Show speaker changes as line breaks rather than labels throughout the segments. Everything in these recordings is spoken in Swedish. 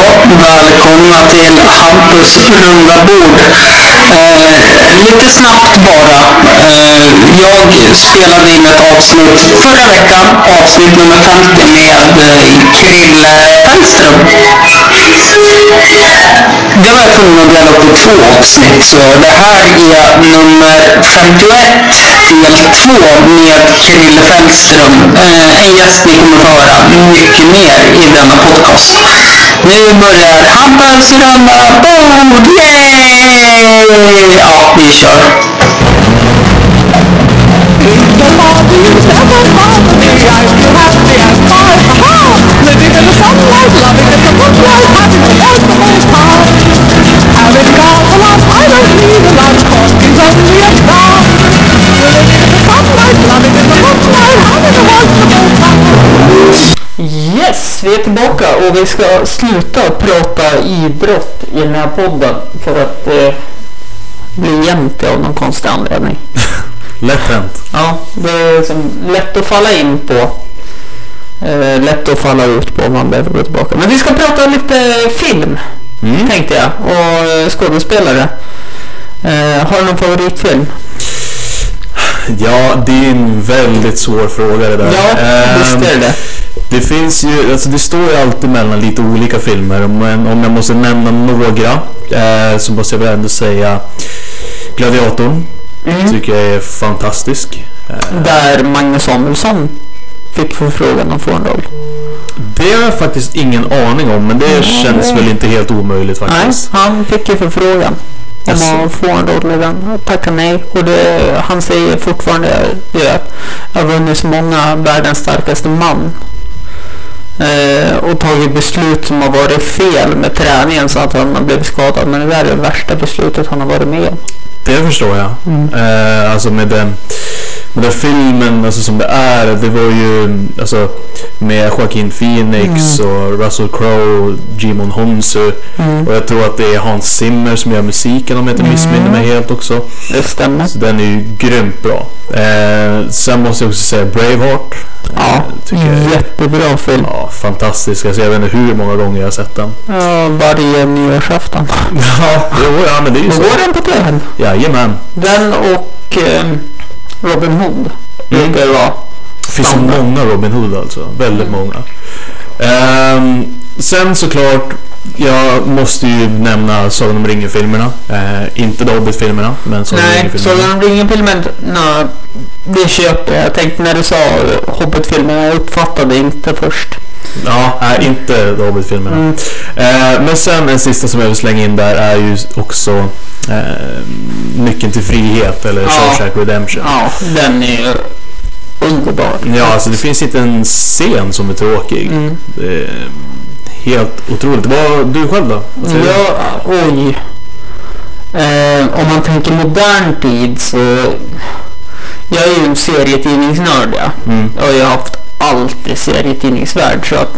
hade kommit till Hampus lugna bord. Eh, lite snabbt bara. Eh, jag spelade in ett avsnitt förra veckan, avsnitt nummer 50 med Krille Tangström. Det var jag tvungen att dela upp i två avsnitt, så det här är nummer 51 del 2 med Krille Tangström. Eh, en gäst ni kommer få höra mycket mer i denna podcast. Nu börjar Hampus runda bord! Yay! Ja, vi kör.
Yes, vi är tillbaka och vi ska sluta prata idrott i den här podden för att eh, bli jämnt av någon konstig anledning.
Lätt hänt.
Ja, det är liksom lätt att falla in på. Eh, lätt att falla ut på om man behöver gå tillbaka. Men vi ska prata lite film,
Mm.
tänkte jag, och eh, skådespelare. Eh, har du någon favoritfilm?
Ja, det är en väldigt svår fråga det där.
Ja,
Ehm,
visst är det det.
Det finns ju, alltså det står ju alltid mellan lite olika filmer, men om jag måste nämna några eh, så måste jag väl ändå säga Gladiatorn.
Mm.
Tycker jag är fantastisk. Eh,
Där Magnus Samuelsson fick förfrågan att få en roll.
det har jag faktiskt ingen aning om, men det
Nej.
känns väl inte helt omöjligt
Nej,
faktiskt.
han fick ju förfrågan om
Jaså?
att få en roll i den. och Tackade nej. Och det, han säger fortfarande ju att jag har vunnit så många världens starkaste man. Eh, och tagit beslut som har varit fel med träningen så att han har blivit skadad. Men det där är det värsta beslutet han har varit med om.
Det förstår jag. Eh, alltså med den, med den filmen alltså som det är. Det var ju alltså, med Joaquin Phoenix och Russell Crowe och Jimon Honsu.
Mm.
Och jag tror att det är Hans Zimmer som gör musiken om jag inte missminner mig helt också.
Det stämmer.
Så den är ju grymt bra. Eh, sen måste jag också säga Braveheart.
Ja, Mm.
Eh, tycker jag är,
jättebra film.
ja, fantastisk. Alltså, jag vet inte hur många gånger jag har sett den.
Ja, varje nyårsafton.
Ja, jo, ja men det är ju
Då
så.
går den på tvn.
Jajamän.
Den och eh, Robin Hood.
Mm.
Det var.
finns så
Andra.
många Robin Hood alltså. Väldigt
Mm.
många. Ehm, sen såklart, jag måste ju nämna Sagan om ringen-filmerna. Eh, inte The Hobbit-filmerna, men Sagan om
Nej,
ringen-filmerna.
Sagan om ringen-filmen, nej, det köpte jag. Jag tänkte när du sa Hobbit-filmen, jag uppfattade inte först.
Ja, nej, inte The Hobbit-filmerna.
Mm.
Eh, men sen en sista som jag vill slänga in där är ju också eh, Nyckeln till frihet, eller
Ja.
Shawshank Redemption.
Ja, den är ju underbar.
Ja, alltså det finns inte en scen som är tråkig.
Mm.
Det är helt otroligt. Vad, du själv då? Vad säger du?
Ja, oj. Eh, om man tänker modern tid så... Jag är ju en serietidningsnörd, ja.
Mm.
Och jag har haft allt i serietidningsvärld, så att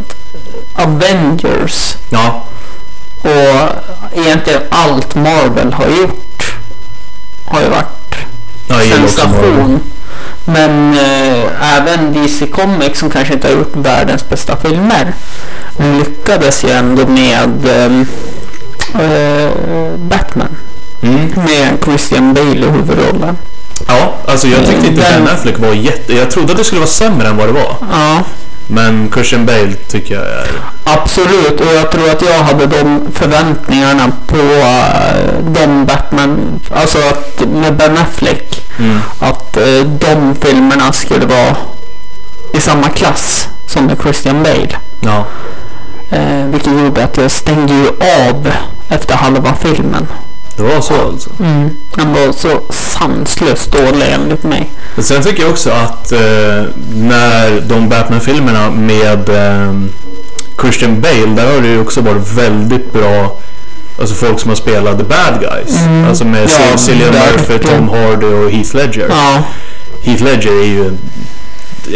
Avengers
Ja,
och egentligen allt Marvel har gjort har ju varit
Ja, jag gillar
liksom
också Marvel.
sensation. Men eh, även DC Comics som kanske inte har gjort världens bästa filmer lyckades ju ändå med ehm, eh, Batman
Mm.
med Christian Bale i huvudrollen.
Ja, alltså jag tyckte inte
Mm. Den-
Ben Affleck var jätte... Jag trodde att det skulle vara sämre än vad det var.
Ja,
Men Christian Bale tycker jag är...
absolut. Och jag tror att jag hade de förväntningarna på eh, de Batman, alltså att med Ben Affleck
Mm.
att eh, de filmerna skulle vara i samma klass som med Christian Bale.
Ja.
Eh, vilket gjorde att jag stängde ju av efter halva filmen.
Det var så alltså.
Den var så sanslöst dålig enligt mig.
Men sen tycker jag också att eh, när de Batman-filmerna med eh, Christian Bale, där har det ju också varit väldigt bra Alltså folk som har spelat The Bad Guys.
Mm.
Alltså med
Ja,
ja, Cillian Murphy,
verkligen.
Tom Hardy och Heath Ledger.
Ja,
Heath Ledger är ju en,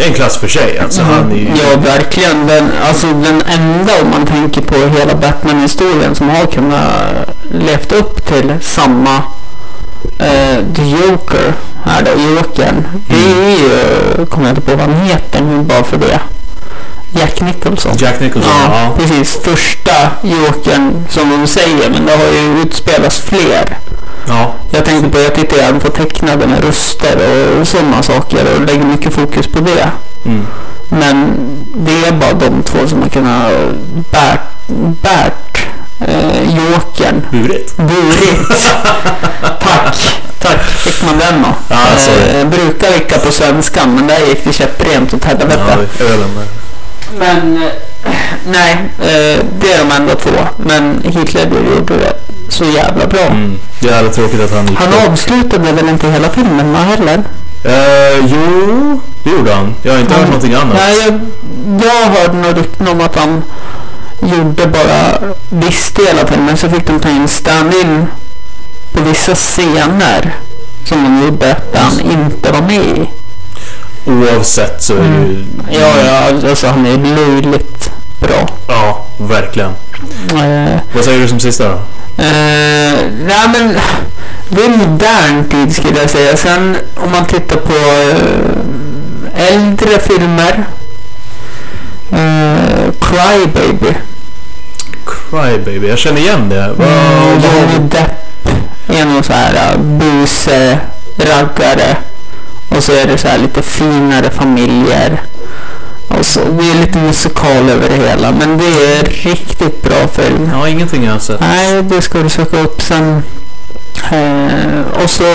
en klass för sig. Alltså han är ju...
Mm. ja verkligen. Den, alltså den enda om man tänker på hela Batman-historien som har kunnat levt upp till samma eh, The Joker,
Mm.
eh, här då, Jokern. Det är ju, kommer jag inte på vad han heter nu bara för det. Jack Nicholson.
Jack Nicholson,
Ja,
ja. Mm.
precis. Första Jokern som de säger, men det har ju utspelats fler.
Ja,
Jag tänkte på, jag tittar ju även på tecknade med röster och sådana saker och lägger mycket fokus på det.
mm.
Men det är bara de två som har kunnat bärt, bärt eh, Jokern.
burit.
Burit. Tack. Tack. Fick man den då.
Ja, alltså. sorry.
eh, brukar vicka på svenskan men där gick det käpprent åt helvete.
Ja, ölen där.
Men eh, nej, eh, det är de enda två. Men Hitler gjorde det så jävla bra.
Mm. Jävla tråkigt att han gick
Han
bort.
avslutade väl inte hela filmen va, heller?
Eh, jo, det gjorde han. Jag har inte hört någonting annat.
Nej, jag, jag hörde något rykten om att han gjorde bara viss del av filmen. Så fick de ta in stand-in på vissa scener som de gjorde där han inte var med i.
Oavsett så är det ju...
Ja, ja, alltså han är löjligt bra.
Ja, verkligen.
Eh,
Vad säger du som sista då?
Eh, nej men det är modern tid skulle jag säga. Sen om man tittar på eh, äldre filmer. Eh, Cry Baby.
Crybaby, jag känner igen det. Vad- vad-
Mm, Johnny Depp är någon så här eh, buse, raggare. Och så är det så här lite finare familjer. Och så, det är lite musikal över det hela. Men det är riktigt bra film.
Ja, ingenting jag har sett.
Nej, det ska du söka upp sen. Eh, och så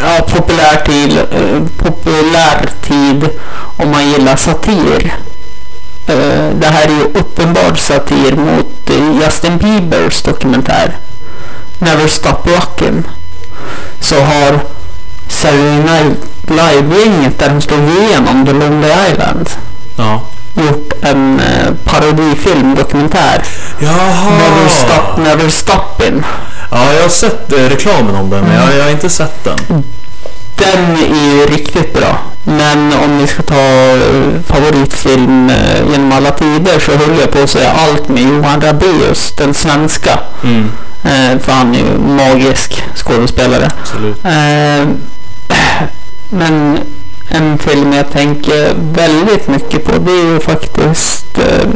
ja, populär, tid, eh, populär tid om man gillar satir. Eh, det här är ju uppenbar satir mot eh, Justin Biebers dokumentär Never Stop Rockin'. Så har Saturday Night Live-gänget där de slog igenom The Lonely Island
Ja.
gjort en eh, parodifilm, dokumentär. Never Stop
Jaha!
Never Stoppin.
Ja, jag har sett eh, reklamen om den, men jag, jag har inte sett den.
Den är ju riktigt bra. Men om vi ska ta eh, favoritfilm eh, genom alla tider så höll jag på att säga allt med Johan Rabaeus, den svenska.
Mm,
Eh, för han är ju magisk skådespelare.
absolut.
Eh, men en film jag tänker väldigt mycket på det är ju faktiskt... Eh,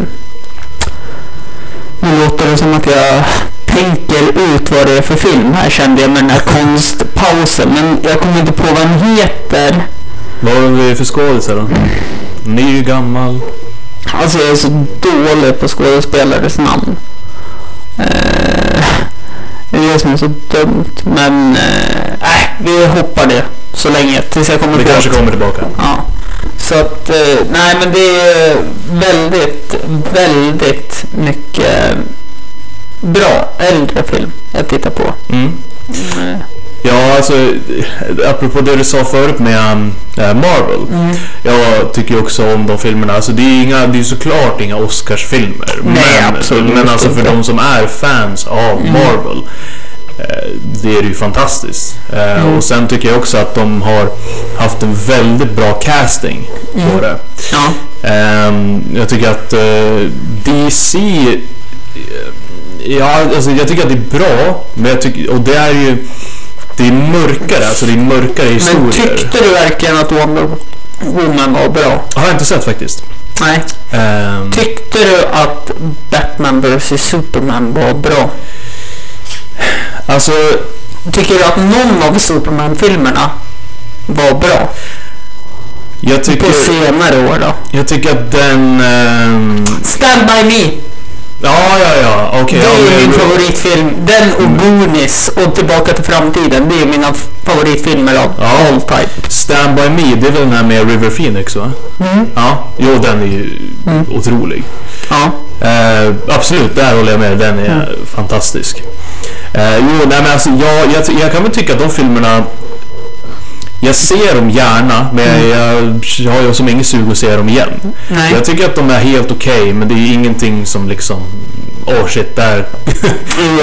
nu låter det som att jag tänker ut vad det är för film här kände jag med den här konstpausen. Men jag kommer inte på vad den heter.
Vad har vi för skådisar då? Ny, gammal?
Alltså jag är så dålig på skådespelares namn. Eh, det är det som är så dumt. Men eh, äh, vi hoppar det så länge tills jag kommer
Vi
på
kanske
ett.
kommer tillbaka.
Ja. Så att, eh, nej men det är väldigt, väldigt mycket bra äldre film jag tittar på.
Mm. Ja, alltså eh, apropå det du sa förut med um, eh, Marvel.
Mm.
Jag tycker ju också om de filmerna. Alltså det är ju inga, det är ju såklart inga Oscarsfilmer.
Nej,
men,
absolut
Men alltså för
inte. Mm.
de som är fans av Marvel. eh, Det är ju fantastiskt. Eh,
Mm.
Och sen tycker jag också att de har haft en väldigt bra casting på
Mm.
det.
Ja.
Ehm, jag tycker att eh, DC... eh, ja, alltså jag tycker att det är bra, men jag tycker, och det är ju... Det är mörkare, alltså det är mörkare
Men
historier.
tyckte du verkligen att Wonder Woman var bra?
har jag inte sett faktiskt.
Nej.
Ehm,
Tyckte du att Batman vs Superman var bra?
alltså,
Tycker du att någon av Superman-filmerna var bra?
jag tycker,
På senare år då?
jag tycker att den... ehm,
Stand By Me!
ja, ja, ja, okej.
det
ja,
är
men- Mm.
min favoritfilm. Den och Goonies och Tillbaka till framtiden. Det är mina f- favoritfilmer av
Ja.
all type.
Stand By Me, det är väl den här med River Phoenix va?
Mm.
Ja, jo den är ju otrolig.
Ja.
Eh, absolut, där håller jag med. Den är fantastisk. Eh, jo, nej, men alltså, jag, jag, ty- jag kan väl tycka att de filmerna... Jag ser dem gärna, men jag, jag har ju som ingen sug att se dem igen.
Nej.
Jag tycker att de är helt okej, men det är ingenting som liksom... Åh oh shit, där...
Jag,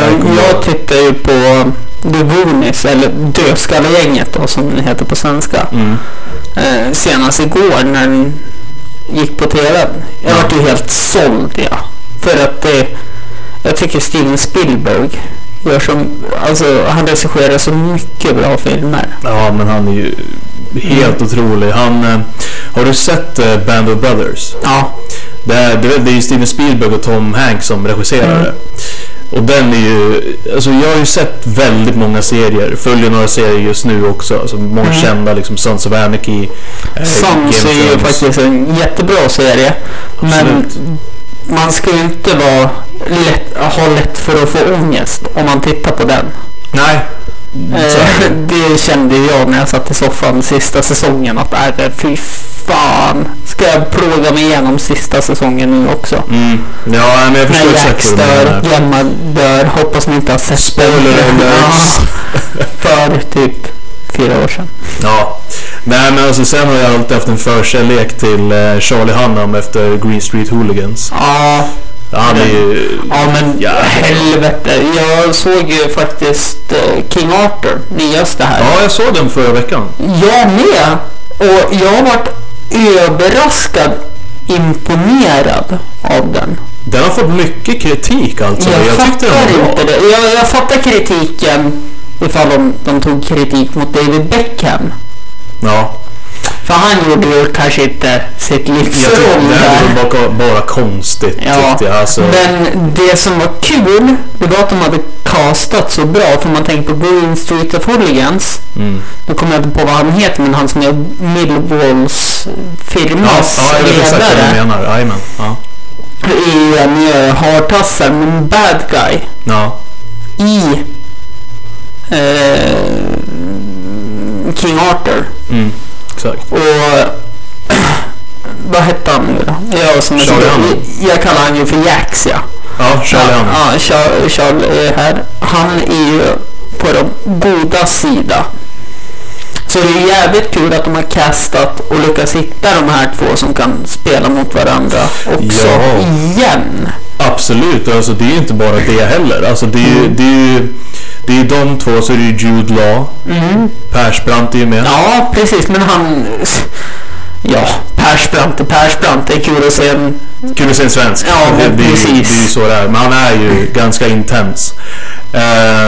Eh, jag tittar ju på um, The Goonies, eller Dödskallegänget då som det heter på svenska.
Mm.
Eh, senast igår när den gick på TV. Jag
Ja.
vart ju helt såld ja. För att det, jag tycker Steven Spielberg gör som, alltså han regisserar så mycket bra filmer.
Ja, men han är
Mm.
ju helt otrolig. Han, eh, har du sett eh, Band of Brothers?
Ja.
Det är, det är- det är ju Steven Spielberg och Tom Hanks som regisserar
Mm.
det. Och den är ju... Alltså jag har ju sett väldigt många serier. Följer några serier just nu också. Alltså många
Mm.
kända liksom Sons of Anarchy. eh,
Sons
Game of
är ju
Thrones.
faktiskt en jättebra serie. Men
Absolut.
man ska ju inte vara lätt, ha lätt för att få ångest om man tittar på den.
Nej. Så
Eh,
är det.
det kände jag när jag satt i soffan sista säsongen att äh, men fy fan. Ska jag plåga mig igenom sista säsongen nu också?
Mm. Ja, men jag förstår
När Jack
exakt vad du
stör,
menar.
Gemma dör. Hoppas ni inte har sett
Spoiler
den.
alert.
Ja, För typ fyra år sedan.
Ja. Nej men alltså sen har jag alltid haft en förkärlek till eh, Charlie Hunnam efter Green Street Hooligans.
Ja,
Han är ju...
ja men
Ja.
helvete. Jag såg ju faktiskt eh, King Arthur, nyaste här.
Ja, jag såg den förra veckan.
Jag med! Och jag har varit överraskad, imponerad av den.
Den har fått mycket kritik alltså. Jag, tyckte den var
inte
bra.
det. Jag, jag fattar kritiken ifall de, de tog kritik mot David Beckham.
Ja.
För han gjorde ju kanske inte sitt livs
Jag tyckte
roll
den
där.
var bara, bara konstigt
Ja,
tyckte jag. Alltså,
Men det som var kul, det var att de hade castat så bra. För om man tänker på Green Street of Hooligans.
mm.
Nu kommer jag inte på vad han heter, men han som är Millwalls
ja,
firmas
ja, jag vet exakt vad du
ledare
menar. Jajamän. Ja.
är en eh, hartassare, men bad guy
Ja.
i eh, King Arthur.
Mm. Exakt.
Och vad hette han nu då? Jag, som är så
Charlie
dålig-
Hunnam.
jag kallar han ju för Jax ja.
Ja, Charlie Hunnam.
Ja, Char- Charlie är här. Han är ju på de goda sida. Så det är jävligt kul att de har castat och lyckats hitta de här två som kan spela mot varandra också
Ja.
igen.
Absolut, och alltså det är ju inte bara det heller. Alltså det är ju,
Mm.
det är ju, det är ju de två, så är det ju Jude Law. Persbrandt är ju med.
Mm. Ja, precis, men han... Ja, Persbrandt är Persbrandt. Det är kul att se en...
Kul att se en svensk.
Ja,
det, det, är ju-
precis.
det är ju så det är. Men han är ju ganska intens.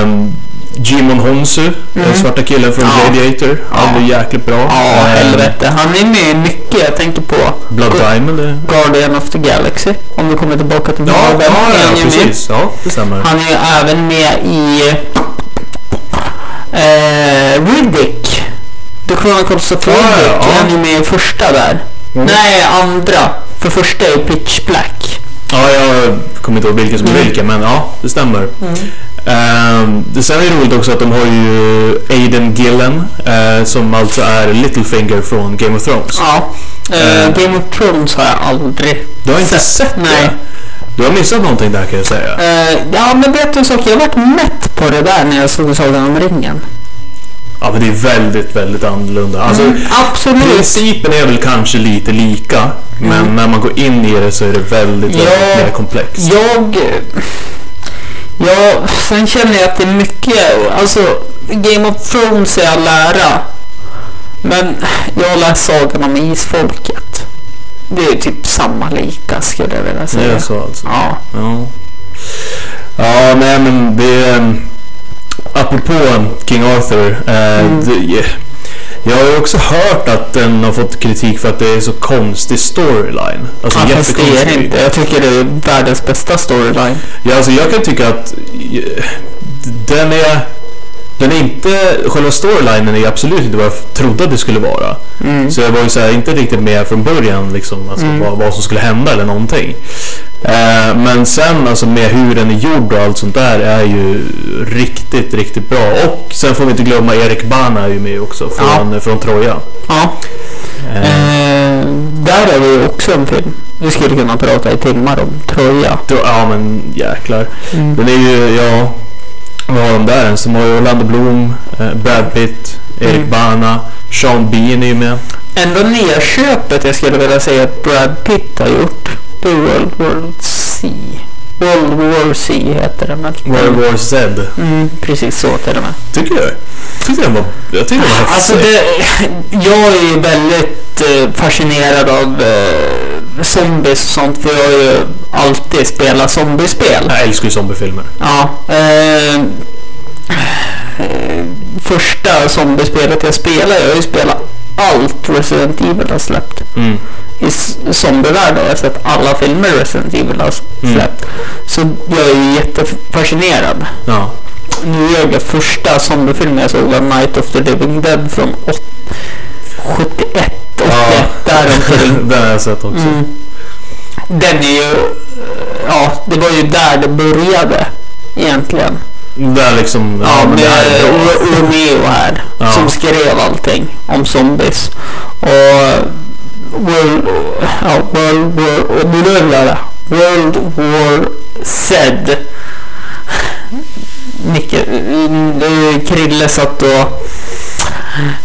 Um, Jimon Honsu, den svarta killen från
Mm. Ja.
Gladiator. Han är jäkligt bra.
Ja,
Ehm,
helvete. Han är med i mycket. Jag tänker på
Blood
Gu-
Diamond. eller?
Guardian of the Galaxy. Om vi kommer tillbaka till
Ja, ja,
Marvel.
ja,
Han är ju med.
precis. Ja, det stämmer.
Han är ju även med i eh, Riddick. The Chronicles of
Ja,
Riddick.
ja, ja.
Han är med i första där.
Mm.
Nej, andra. För första är Pitch Black.
Ja, jag kommer inte ihåg vilken som är
Mm.
vilken, men ja, det stämmer. Ehm, det sen är det roligt också att de har ju Aiden Gillen, eh, som alltså är Littlefinger från Game of Thrones.
Ja. Eh,
Eh.
Game of Thrones har jag aldrig
Du har inte sett
Nej.
det? Du har missat någonting där kan jag säga.
Eh, ja, men vet du en sak? Jag varit mätt på det där när jag såg Sagan om ringen.
Ja, men det är väldigt, väldigt annorlunda. Alltså,
Mm. Absolut. Mm.
Principen är väl kanske lite lika, men när man går in i det så är det väldigt,
Ja.
väldigt mer komplext.
Jag... Ja, sen känner jag att det är mycket... Alltså, Game of Thrones är all ära. Men jag har läst Sagan om Isfolket. Det är typ samma lika skulle jag vilja
Det är
säga.
så alltså.
Ja.
Ja. Ja, nej men det... eh, Apropå King Arthur. Eh,
Mm.
det, jag har ju också hört att den har fått kritik för att det är så konstig storyline. Alltså
ja fast det är det
jättekonstig.
inte. Jag tycker det är världens bästa storyline.
Ja, alltså jag kan tycka att eh, den är... Den är inte... Själva storylinen är absolut inte vad jag trodde att det skulle vara.
Mm.
Så jag var ju så här, inte riktigt med från början liksom, alltså,
Mm.
vad, vad som skulle hända eller någonting. Eh, men sen alltså med hur den är gjord och allt sånt där är ju riktigt, riktigt bra. Och sen får vi inte glömma Erik Bana är ju med också från, från Troja.
Ja.
Eh,
Eh, där är det ju också en film. Vi skulle kunna prata i timmar om Troja.
då, ja men jäklar.
Mm.
Den är ju, ja, vad har de där ens? De har ju Orlando Bloom, eh, Brad Pitt, Erik
Mm.
Bana, Sean Bean är ju med.
Ändå nya köpet jag skulle vilja säga att Brad Pitt har gjort. Det är World War C. World War C heter den väl?
World War Z.
Mm, precis så till och med.
Tycker du? Tyckte den var, jag tyckte den var häftig.
Alltså det, jag är ju väldigt eh, fascinerad av eh, zombies och sånt för jag har ju alltid spelat zombiespel.
Jag älskar ju zombiefilmer.
Ja. Eh, eh, första zombiespelet jag spelade, jag har ju spelat allt Resident Evil har släppt.
Mm.
i s- zombievärlden efter att alla filmer Resident Evil har s-
Mm.
släppt. Så jag är ju jättefascinerad.
Ja.
Nu är jag första zombiefilmen jag såg var Night of the Living Dead från åt- 71, 81 däromkring.
Den har jag sett också.
Mm. Den är ju... eh, Ja, det var ju där det började egentligen.
Där liksom...
Ja,
men det här
med
är bra.
Ro- Romeo här
Ja.
som skrev allting om zombies. Och World, ja, World War... och nu rullar det. World War Z. Micke, mm, eh, Krille satt och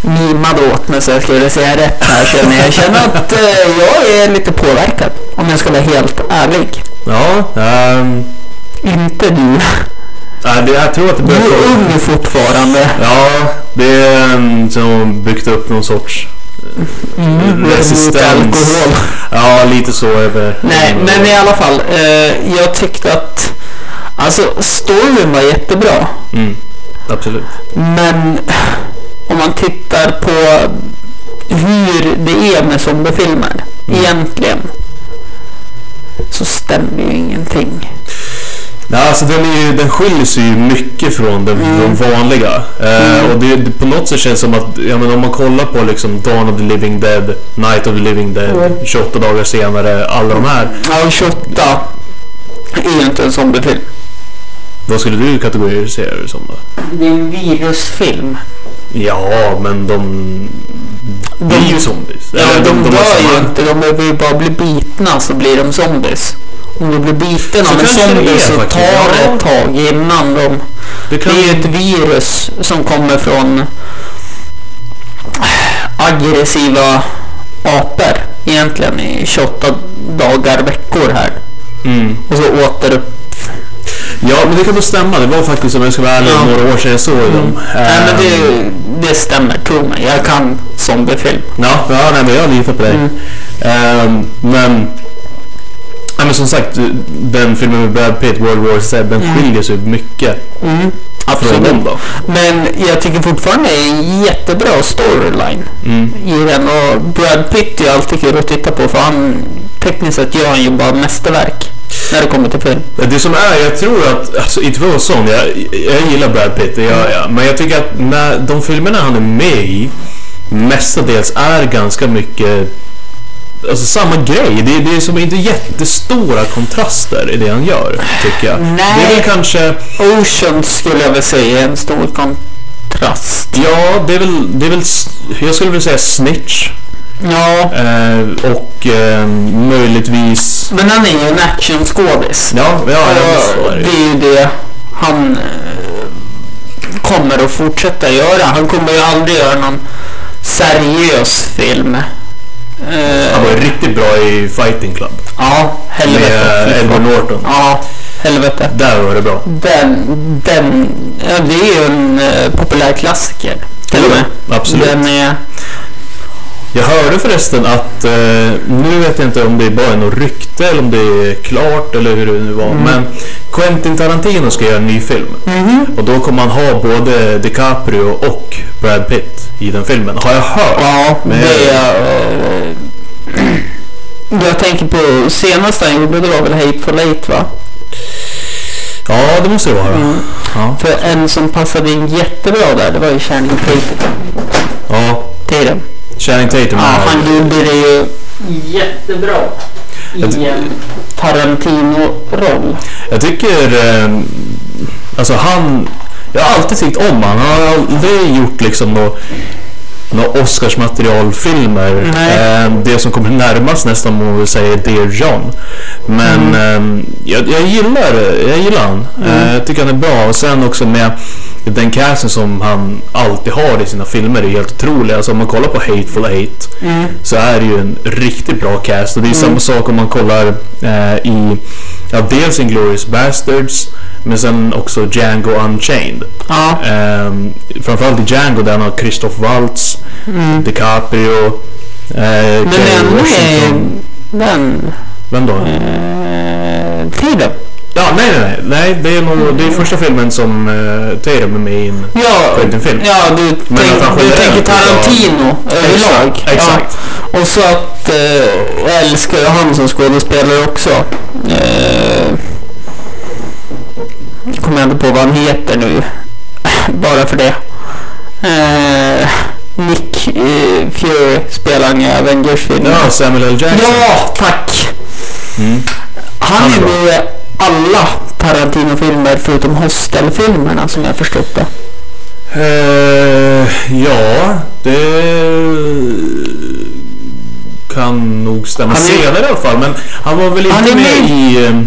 mimade åt mig så jag skulle säga rätt här känner jag. Jag känner att eh, jag är lite påverkad om jag ska vara helt ärlig.
Ja, ehm,
Inte du.
nej, det, jag tror att det
Du
börjar
är
få-
ung fortfarande.
Ja, det är en som byggt upp någon sorts... eh,
Mm,
Resistens.
mot alkohol.
Ja, lite så över...
Nej, men i alla fall. Eh, jag tyckte att... Alltså, storyn var jättebra.
Mm, absolut.
Men om man tittar på hur det är med zombiefilmer
Mm.
egentligen. Så stämmer ju ingenting.
Nej, alltså den, är ju, den skiljer sig ju mycket från den,
Mm.
de vanliga. Eh,
Mm.
och det, det på något sätt känns som att ja, men om man kollar på liksom Dawn of the Living Dead, Night of the Living Dead,
Mm.
28 dagar senare, alla de här.
Ja, 28 är ju inte en zombiefilm.
Vad skulle du kategorisera det som då?
Det är en virusfilm.
Ja, men de... De är ju zombies.
Ja,
Eller
de,
har
dör ju
samma-
inte, de behöver ju bara bli bitna så blir de zombies. Om du blir biten
Så
av en
kanske det är
zombie så tar
faktiskt.
det
Ja.
ett tag innan de...
Det
Det
kan
är ju ett virus som kommer från aggressiva apor egentligen i 28 dagar, veckor här.
Mm.
Och så återupp...
Ja, men det kan nog stämma. Det var faktiskt, om jag ska vara ärlig,
Ja. Mm.
några år sedan jag såg dem.
Nej men
Ehm,
det, det stämmer, tro mig. Jag kan zombiefilm.
Ja, ja nej, men jag litar på dig.
Mm.
Ehm, men, ja, men som sagt, den filmen med Brad Pitt, World War Z, den
Mm.
skiljer sig mycket
Mm,
från
absolut.
dem då.
Men jag tycker fortfarande det är en jättebra storyline.
Mm.
i den och Brad Pitt är alltid kul att titta på för han tekniskt sett gör han ju bara mästerverk när det kommer till film.
Det som är, jag tror att, alltså inte för att vara sån, jag, jag gillar Brad Pitt, det
Mm.
gör jag. Men jag tycker att när de filmerna han är med i mestadels är ganska mycket Alltså samma grej, det, det är som inte jättestora kontraster i det han gör, tycker jag. Det är
Nej.
väl kanske...
Ocean skulle jag väl säga är en stor kontrast.
Ja, det är väl, det är väl s- jag skulle vilja säga Snitch
Ja,
eh, och eh, möjligtvis...
men han är ju en actionskådis.
Ja, ja, ja så
Och
är det
det
ju.
är ju det han eh, kommer att fortsätta göra. Han kommer ju aldrig göra någon seriös film. Eh,
Han var ju riktigt bra i Fighting Club
ja, helvete.
med
Fy
Edward
fan.
Norton.
Ja, helvete.
Där var det bra.
Den, den, ja, det är ju en eh, populär klassiker. Till och med.
Absolut.
Den är,
Jag hörde förresten att, eh, nu vet jag inte om det bara är något rykte eller om det är klart eller hur det nu var,
Mm.
men Quentin Tarantino ska göra en ny film.
Mhm.
Och då kommer han ha både DiCaprio och Brad Pitt i den filmen, har jag hört.
ja,
Men-
det är, eh, jag tänker på senaste han gjorde, det var väl Hateful Eight va?
Ja, det måste det vara.
Mm.
Ja.
För en som passade in jättebra där, det var ju Channing Tatum.
ja,
Tatum.
Channing
Ja,
Tatum är-
han gjorde det ju jättebra
Jag
i
ty-
en Tarantino-roll.
Jag tycker... Eh, alltså han... Jag har alltid tyckt om han. Han har aldrig gjort liksom nå några Oscarsmaterialfilmer.
Nej.
Eh, det som kommer närmast nästan må vi säga är Dear John. Men eh, jag, jag gillar jag gillar han. Eh, jag tycker han är bra. Och sen också med den casten som han alltid har i sina filmer är helt otrolig. Alltså om man kollar på Hateful Eight så är det ju en riktigt bra cast. Och det är samma sak om man kollar eh, i ja, dels Inglourious Bastards men sen också Django Unchained.
Ja.
Ehm, framförallt i Django där han har Christoph Waltz,
Mm.
DiCaprio, eh,
Men
Kerry
ändå är
Washington.
den
Vem då?
eh, Tatum.
Ja, nej, nej, nej. nej det, är nog, det är första filmen som uh, Tatum är med i en
Mm. Ja,
Quentin-film.
ja du, tänk,
att han
du
generellt
tänker
utav-
Tarantino överlag.
Exakt, exakt.
Ja. Och så att eh, jag älskar ju han som skådespelare också. Eh, jag kommer ändå på vad han heter nu. Bara för det. Eh, Nick eh, Fury spelar han i Avengers-filmen.
Ja, Samuel L. Jackson.
Ja, tack!
Mm.
Han
Han är
är
bra.
med i alla Tarantino-filmer förutom Hostel-filmerna som jag förstått det.
Eh, ja, det kan nog stämma
Han är-
senare i alla fall. Men han var väl
Han
inte
är
med
med.
i, eh,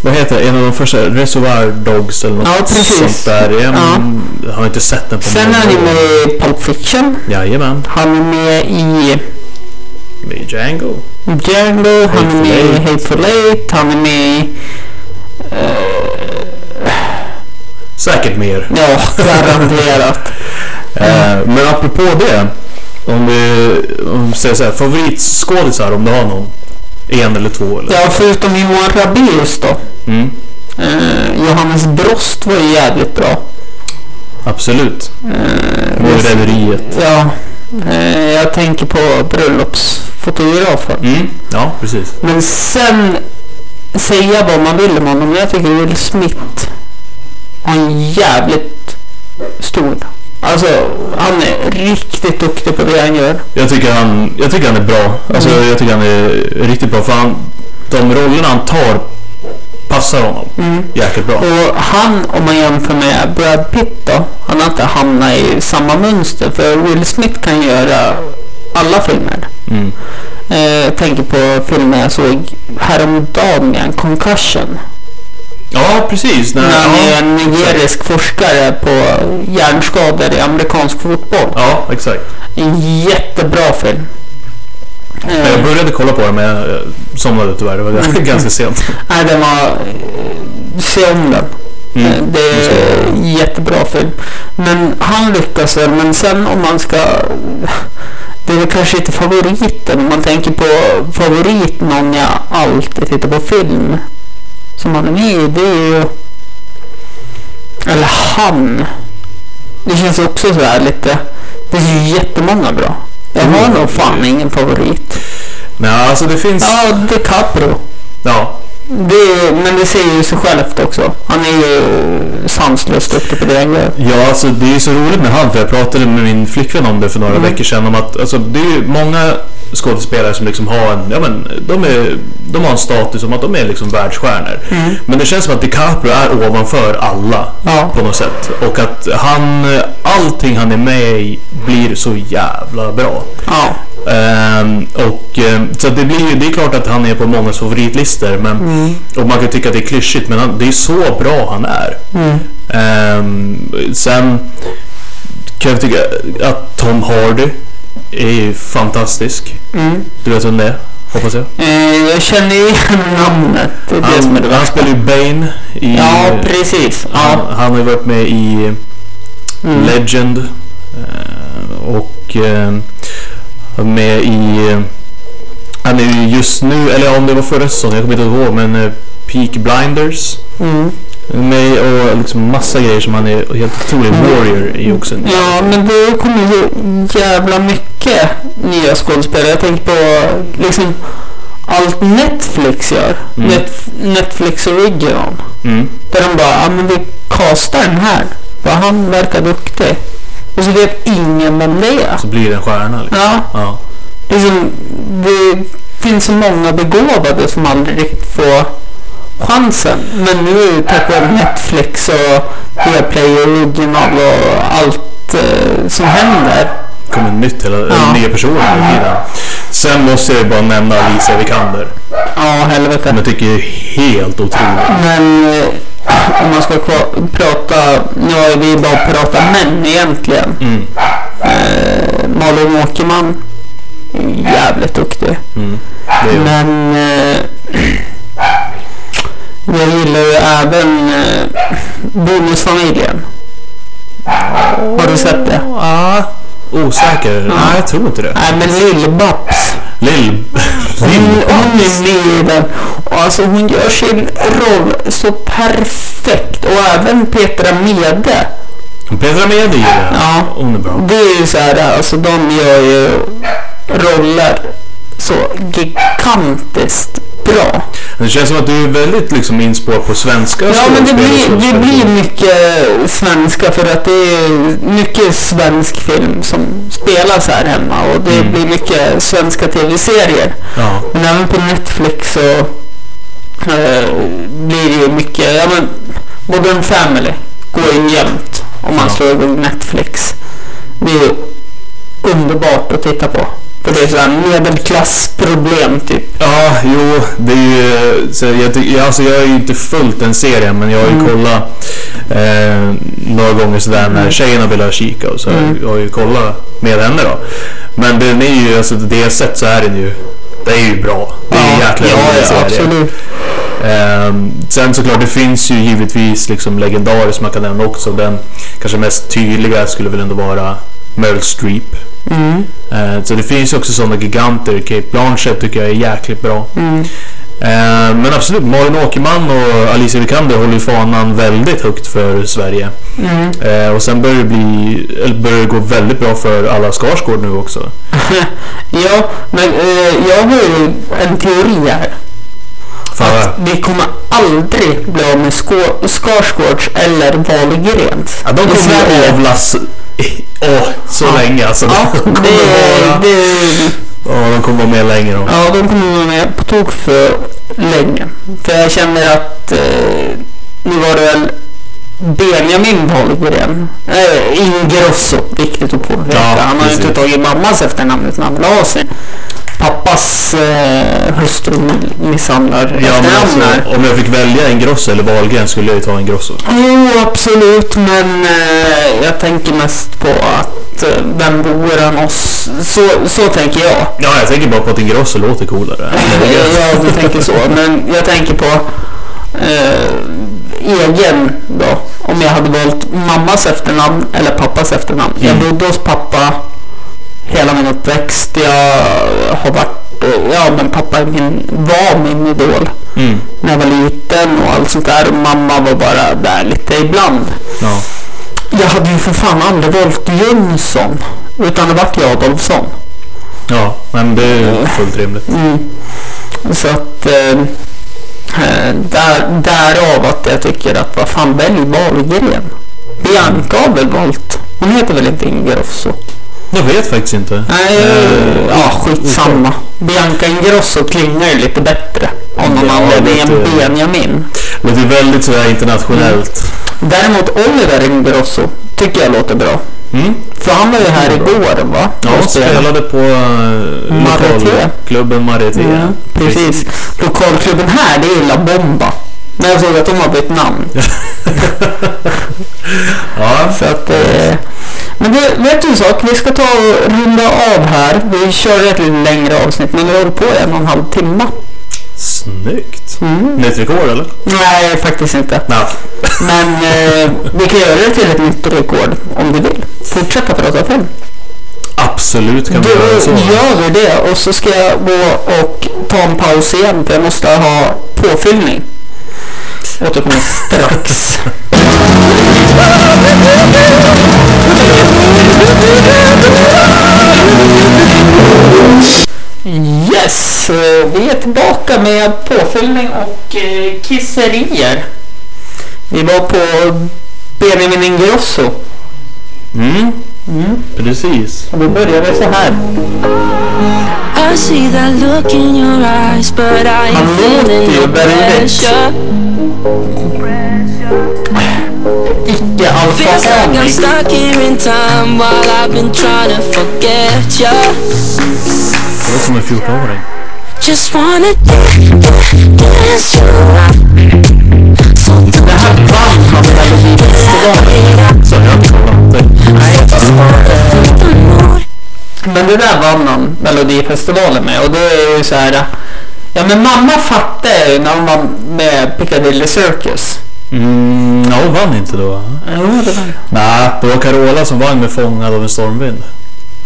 vad heter det, en av de första, Reservoir Dogs eller något
Ja, precis.
sånt där. Jag har inte sett den på
Sen är
många
han ju
år.
med i Pulp Fiction.
Jajamän,
Han är med i
med i Django.
Django. Han är
Hateful
med i
Eight.
Hateful Eight. Han är med i...
Säkert mer.
Ja, garanterat.
Eh, men apropå det, om vi, om vi säger så här, favoritskådisar om du har någon. En eller två eller?
Ja, förutom Johan Rabaeus då.
Mm,
Eh, Johannes Brost var ju jävligt bra.
absolut.
Eh,
Målrederiet.
ja, eh, jag tänker på bröllopsfotografen.
Mm, ja, precis.
Men sen säga vad man vill om honom. men Jag tycker Will Smith har en jävligt stor. Alltså han är riktigt duktig på det han gör.
Jag tycker han, jag tycker han är bra. Alltså,
Mm.
Jag tycker han är riktigt bra. För han, de rollerna han tar passar honom
Mm.
jäkligt bra.
Och han om man jämför med Brad Pitt då. Han har inte hamnat i samma mönster. För Will Smith kan göra alla filmer.
Mm.
Eh, jag tänker på filmen jag såg häromdagen med en concussion.
Ja, precis.
När han är
ja,
en nigerisk forskare på hjärnskador i amerikansk fotboll.
ja, exakt.
En jättebra film.
Men
Eh,
Jag började kolla på den men jag eh, somnade tyvärr. Det var
Mm.
ganska sent.
nej, den var... eh, Se om den.
Mm.
Eh, Det är en jättebra film. Men han lyckas väl, men sen om man ska... Det är väl kanske inte favoriten. Om man tänker på favorit, någon jag alltid tittar på film. Som han är med i, det är ju... Eller han. Det känns också så här lite... Det finns ju jättemånga bra. Jag har
Mm.
nog fan ingen favorit.
Nej, alltså det finns...
Ja, DiCaprio.
Ja,
Det är, men det säger ju sig självt också. Han är ju sanslöst duktig på det han gör.
Ja, alltså det är ju så roligt med han, för jag pratade med min flickvän om det för
Mm.
några veckor sedan. Om att, alltså, det är ju många skådespelare som liksom har en, ja, men, de, är, de har en status som att de är liksom världsstjärnor. Men det känns som att DiCaprio är ovanför alla
Mm. Ja.
på något sätt. Och att han, eh, allting han är med i blir så jävla bra.
Ja.
Ehm, och, ehm, så det, blir, ju- det är klart att han är på många favoritlistor men,
Mm.
och man kan tycka att det är klyschigt men han, det är så bra han är.
Mm.
Ehm, sen kan jag tycka att Tom Hardy är ju fantastisk. Du vet vem det är, hoppas jag.
Mm. Eh, jag känner ju igen namnet. Det är det som är
Han,
det
han
värsta.
spelar ju Bane i...
Ja, precis.
han,
Ja.
han har ju varit med i
Mm.
Legend eh, och eh, var med i... eh, Han är ju just nu, eller om det var förra säsongen, jag kommer inte ihåg, men eh, Peak Blinders.
Mm.
Med och liksom massa grejer som han är helt otrolig warrior i också.
Mm. Ja, men det kommer ju jävla mycket nya skådespelare. Jag tänker på liksom allt Netflix gör.
Mm.
Net- Netflix Original.
Mm.
Där de bara, ja men vi castar den här. För han verkar duktig. Och så vet ingen vem det är.
Så blir det en stjärna liksom.
Ja,
Ja.
liksom, det finns så många begåvade som aldrig riktigt får chansen. Men nu tack vare Netflix och Viaplay och original och allt eh, som händer.
Kommer nytt hela,
Ja.
nya personer hela tiden. Sen måste jag ju bara nämna Alicia Vikander.
Ja, helvete.
Som jag tycker är helt otrolig.
Men eh, om man ska kva- prata, nu har vi bara pratat män egentligen.
Mm.
Eh, Malin Åkerman, jävligt duktig.
Mm. Det är,
Men eh, jag gillar ju även eh, Bonusfamiljen. Har du sett det?
Ja, osäker. Nej, jag tror inte det.
Nej men Lill-Babs.
Lill...
Hon hon är med i den. Och alltså hon gör sin roll så perfekt. Och även Petra Mede.
Petra Mede gillar jag.
Ja.
Hon är bra.
Det är ju så här, alltså de gör ju roller så gigantiskt bra.
Det känns som att du är väldigt liksom inspårad på svenska
Ja men det
skådespel och
blir, det
skådespelare.
blir mycket eh, svenska för att det är mycket svensk film som spelas här hemma och det
Mm.
blir mycket svenska tv-serier.
Ja.
Men även på Netflix så eh, blir det ju mycket, ja men Modern Family går in jämt om man
Ja.
slår igång Netflix. Det är ju underbart att titta på. För det är sådär medelklassproblem typ.
Ja, jo, det är ju... Så jag, ty- jag, alltså jag har ju inte följt den serien, men jag har ju
Mm.
kollat eh, några gånger sådär när tjejerna ville ha kika och så har
Mm.
jag- jag har ju kollat med henne då. Men den är ju, alltså det jag sett så är den ju... Det är ju bra. Det är ju jäkla
ja,
rolig
ja,
serie.
absolut.
Ehm, sen såklart, det finns ju givetvis liksom legendarer som man kan nämna också. Den kanske mest tydliga skulle väl ändå vara Meryl Streep.
Mm,
Eh, Så det finns ju också sådana giganter. Kate Blanchett tycker jag är jäkligt bra.
mm.
Eh, Men absolut, Malin Åkerman och Alicia Vikander håller ju fanan väldigt högt för Sverige.
Mm.
Eh, Och sen börjar det, bli, eller börjar det gå väldigt bra för alla Skarsgård nu också.
Ja, men eh, jag har ju en teori här.
Fan.
Vi kommer aldrig bli av med Skå- Skarsgårds eller Wahlgrens.
Ja, de
i
kommer ju
Sverige.
avlas åh, så länge alltså.
Ja,
de, kommer
det,
vara,
det,
ja, de kommer vara med länge då.
ja, de kommer vara med på tok för länge. För jag känner att eh, nu var det väl Benjamin Wahlgren, eh, Ingrosso, viktigt att påpeka.
Ja,
Han har ju
precis.
inte tagit mammas efternamn utan han la sig. Pappas eh, hustru misshandlar
Ja, men
efternamn här.
alltså, om jag fick välja en grosso eller Wahlgren skulle jag ju ta en grosso.
Jo, absolut, men eh, jag tänker mest på att eh, vem bor än oss? Så, så tänker jag.
Ja, jag tänker bara på att en grosso låter coolare.
ja, du tänker så, men jag tänker på eh, egen då. Om jag hade valt mammas efternamn eller pappas efternamn. Jag
Mm.
bodde hos pappa hela min uppväxt. Jag har varit, eh, ja men pappa är min, var min idol
Mm,
när jag var liten och allt sånt där. Mamma var bara där lite ibland.
ja.
Jag hade ju för fan aldrig valt Jönsson. Utan det vart ju Adolfsson.
ja, men det är ju fullt rimligt.
Mm. Så att... Eh, eh, där, därav att jag tycker att vad fan välj Wahlgren. Bianca har väl valt. Hon heter väl inte Ingrosso?
Jag vet faktiskt inte.
Nej,
Eh,
ja skitsamma. Bianca Ingrosso klingar ju lite bättre. Om någon
Ja,
anledning än
lite.
Benjamin.
Men det är väldigt sådär internationellt.
Däremot Oliver Ingrosso tycker jag låter bra.
Mm.
För han var ju här igår va?
Ja,
Och spelade.
spelade på eh,
Marieté.
lokalklubben Marieté.
Ja, Mm, precis. Lokalklubben här, det är ju La Bomba. Men jag såg att de har bytt namn.
Ja,
Så att, eh, men det, vet du en sak? Vi ska ta och runda av här. Vi kör ett lite längre avsnitt, men vi håller på i en och en halv timme.
snyggt.
Mm.
Nytt rekord eller?
Nej, faktiskt inte.
Nej.
Men eh, vi kan göra det till ett nytt rekord om du vill. Fortsätta prata film.
Absolut kan vi göra så.
Då gör vi det och så ska jag gå och ta en paus igen för jag måste ha påfyllning. Återkommer strax. Yes, eh, vi är tillbaka med påfyllning och eh, kisserier. Vi var på Benjamin Ingrosso.
Mm, precis.
Och vi började så här.
I see that look in your eyes, but I
Han
ain't feeling
låter ju
no
väldigt
pressure. Feels like I'm
icke-alfahanig.
stuck here in time while I've been trying to forget ya.
Då kommer 14-åring.
Just wanna da- da- dance you up.
Det här vann han väldigt bra.
Så jag har inte kollat. Det-
Feel the mood.
Men det där vann han Melodifestivalen med och då är det ju så här. Ja men mamma fattade jag ju när hon var med Piccadilly Circus.
Mm, ja, hon vann inte då. va?
Jo det var
Nej, det var Carola som vann med Fångad av en stormvind.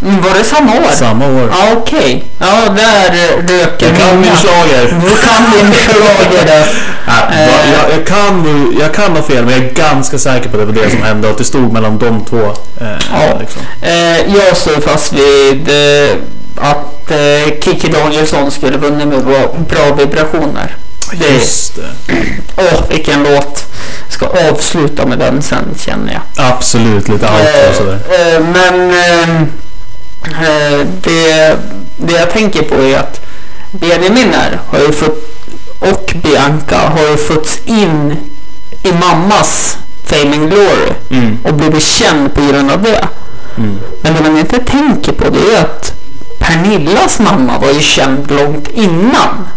Mm, Var det samma år?
Samma år.
Ja, okej. Ja, där eh, rök
Jag kan min schlager.
Du kan din schlager där.
Ja,
Eh.
jag, jag, kan, jag kan ha fel, men jag är ganska säker på det var det som hände. Att det stod mellan de två. Eh,
Ja.
liksom.
Eh, jag står fast vid eh, att eh, Kikki Danielsson skulle vunnit med bra, bra vibrationer. Det,
Just det.
åh, vilken låt. Ska avsluta med den sen känner jag.
Absolut, lite allt och
Eh,
sådär.
eh, men eh, eh, det, det jag tänker på är att Benjamin här har ju fått, och Bianca har ju fått in i mammas Fame and Glory
Mm,
och blivit känd på grund av det.
mm.
Men det man inte tänker på det är att Pernillas mamma var ju känd långt innan.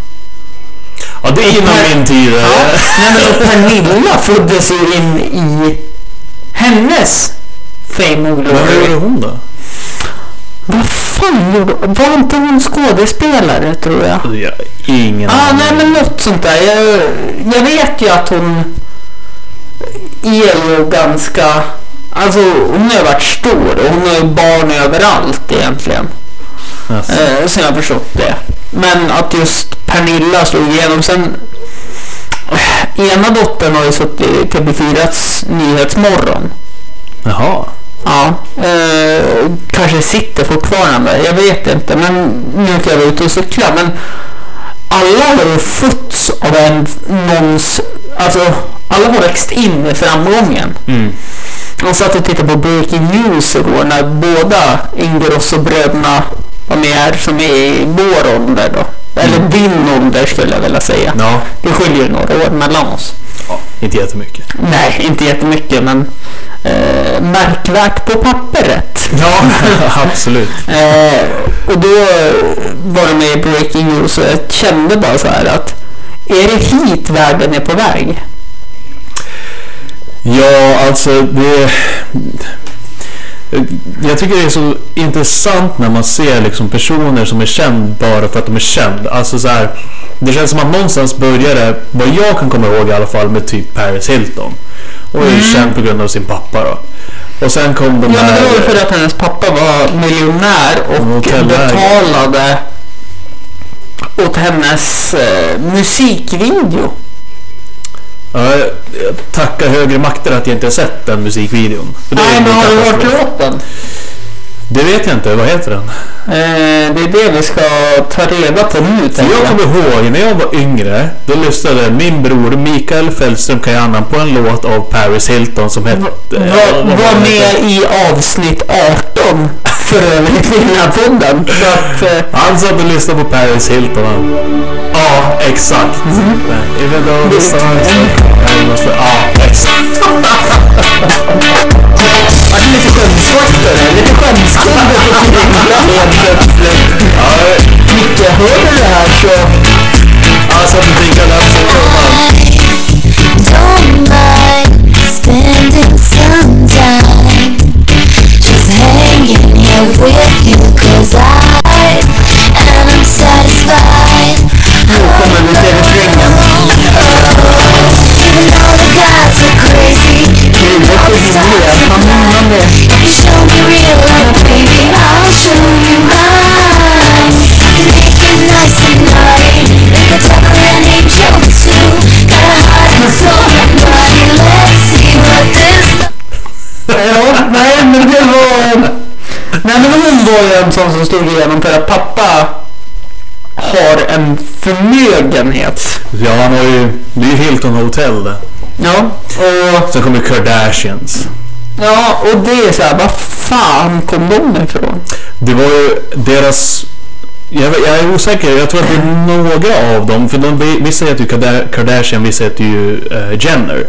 Ja, det är innan min tid. eh.
Ja. Nej, men alltså, Pernilla föddes ju in i hennes Fame and
Men vad
Glory.
gjorde hon då?
Vad fan gjorde hon? Var inte hon skådespelare tror jag?
Jag, ingen
ah,
aning.
nej men något sånt där. Jag, jag vet ju att hon är ju ganska... Alltså hon har ju varit stor och hon har ju barn överallt egentligen.
Alltså,
Eh, sen jag förstått det. Men att just Pernilla slog igenom. Sen, eh, ena dottern har ju suttit i TV4s Nyhetsmorgon.
Jaha.
Ja, eh, kanske sitter fortfarande. Jag vet inte, men nu kan jag vara ute och cykla. Men alla har ju fötts av en, någons... Alltså, alla har växt in i framgången.
Mm.
Jag satt och tittade på Breaking News igår när båda Ingrosso-bröderna var med här som är i vår ålder då. Eller din ålder skulle jag vilja säga.
Ja,
Det skiljer ju några år mellan oss.
ja, inte jättemycket.
Nej, inte jättemycket men eh, märkvärt på papperet.
Ja, absolut.
Eh, och då var de med i Breaking News och jag kände bara så här att är det hit världen är på väg?
Ja, alltså det... Jag tycker det är så intressant när man ser liksom personer som är känd bara för att de är känd. Alltså så här, det känns som att någonstans börjar det, vad jag kan komma ihåg i alla fall, med typ Paris Hilton. Och är ju känd på grund av sin pappa då. Och sen kom de
Mm. Ja, men
här...
det var ju för att hennes pappa var miljonär och
Hotellägare.
betalade åt hennes eh, musikvideo.
Ja, jag jag tackar högre makter att jag inte har sett den musikvideon. För det är
Nej,
ju
men har du hört
katastrof.
låten?
Det vet jag inte, vad heter den?
Eh, det är det vi ska ta reda på nu,
För
tänker
jag
jag.
kommer ihåg när jag var yngre, då lyssnade min bror Mikael Fällström Kajanan på en låt av Paris Hilton som hette... ja,
Var,
vad
var
den hette?
med i avsnitt 18 för övrigt i den här podden. Så att, eh,
Han satt och lyssnade på Paris Hilton. Han. Ja, exakt.
Mm.
Men Even though the stars are- Ja, exakt.
Vart det lite skämtfaktor där? Lite skämtstunder på Pernilla helt plötsligt.
Ja,
Micke, hör du det här så...
alltså Mikael Fällström.
Don't mind spending some time just hanging here with you, 'cause I am satisfied.
Nu kommer vi till refrängen.
Even though the guys are crazy,
Krille Sjögren, han hamnar med.
if you show me real life, baby, I'll show you mine. I can make you nice tonight, like a devil and angel too. Got a heart and soul and body. Let's see what this.
Ja, nej men det var... Nej men hon var ju en sån som stod igenom för att pappa har en förmögenhet.
Ja, han har ju... Det är ju Hilton Hotel det.
Ja, och...
Sen kommer Kardashians.
Ja, och det är så här, vad fan kom de ifrån?
Det var ju deras... Jag, jag är osäker, jag tror att det är några av dem. För de, vissa heter ju Kada- Kardashian, vissa heter ju eh, Jenner.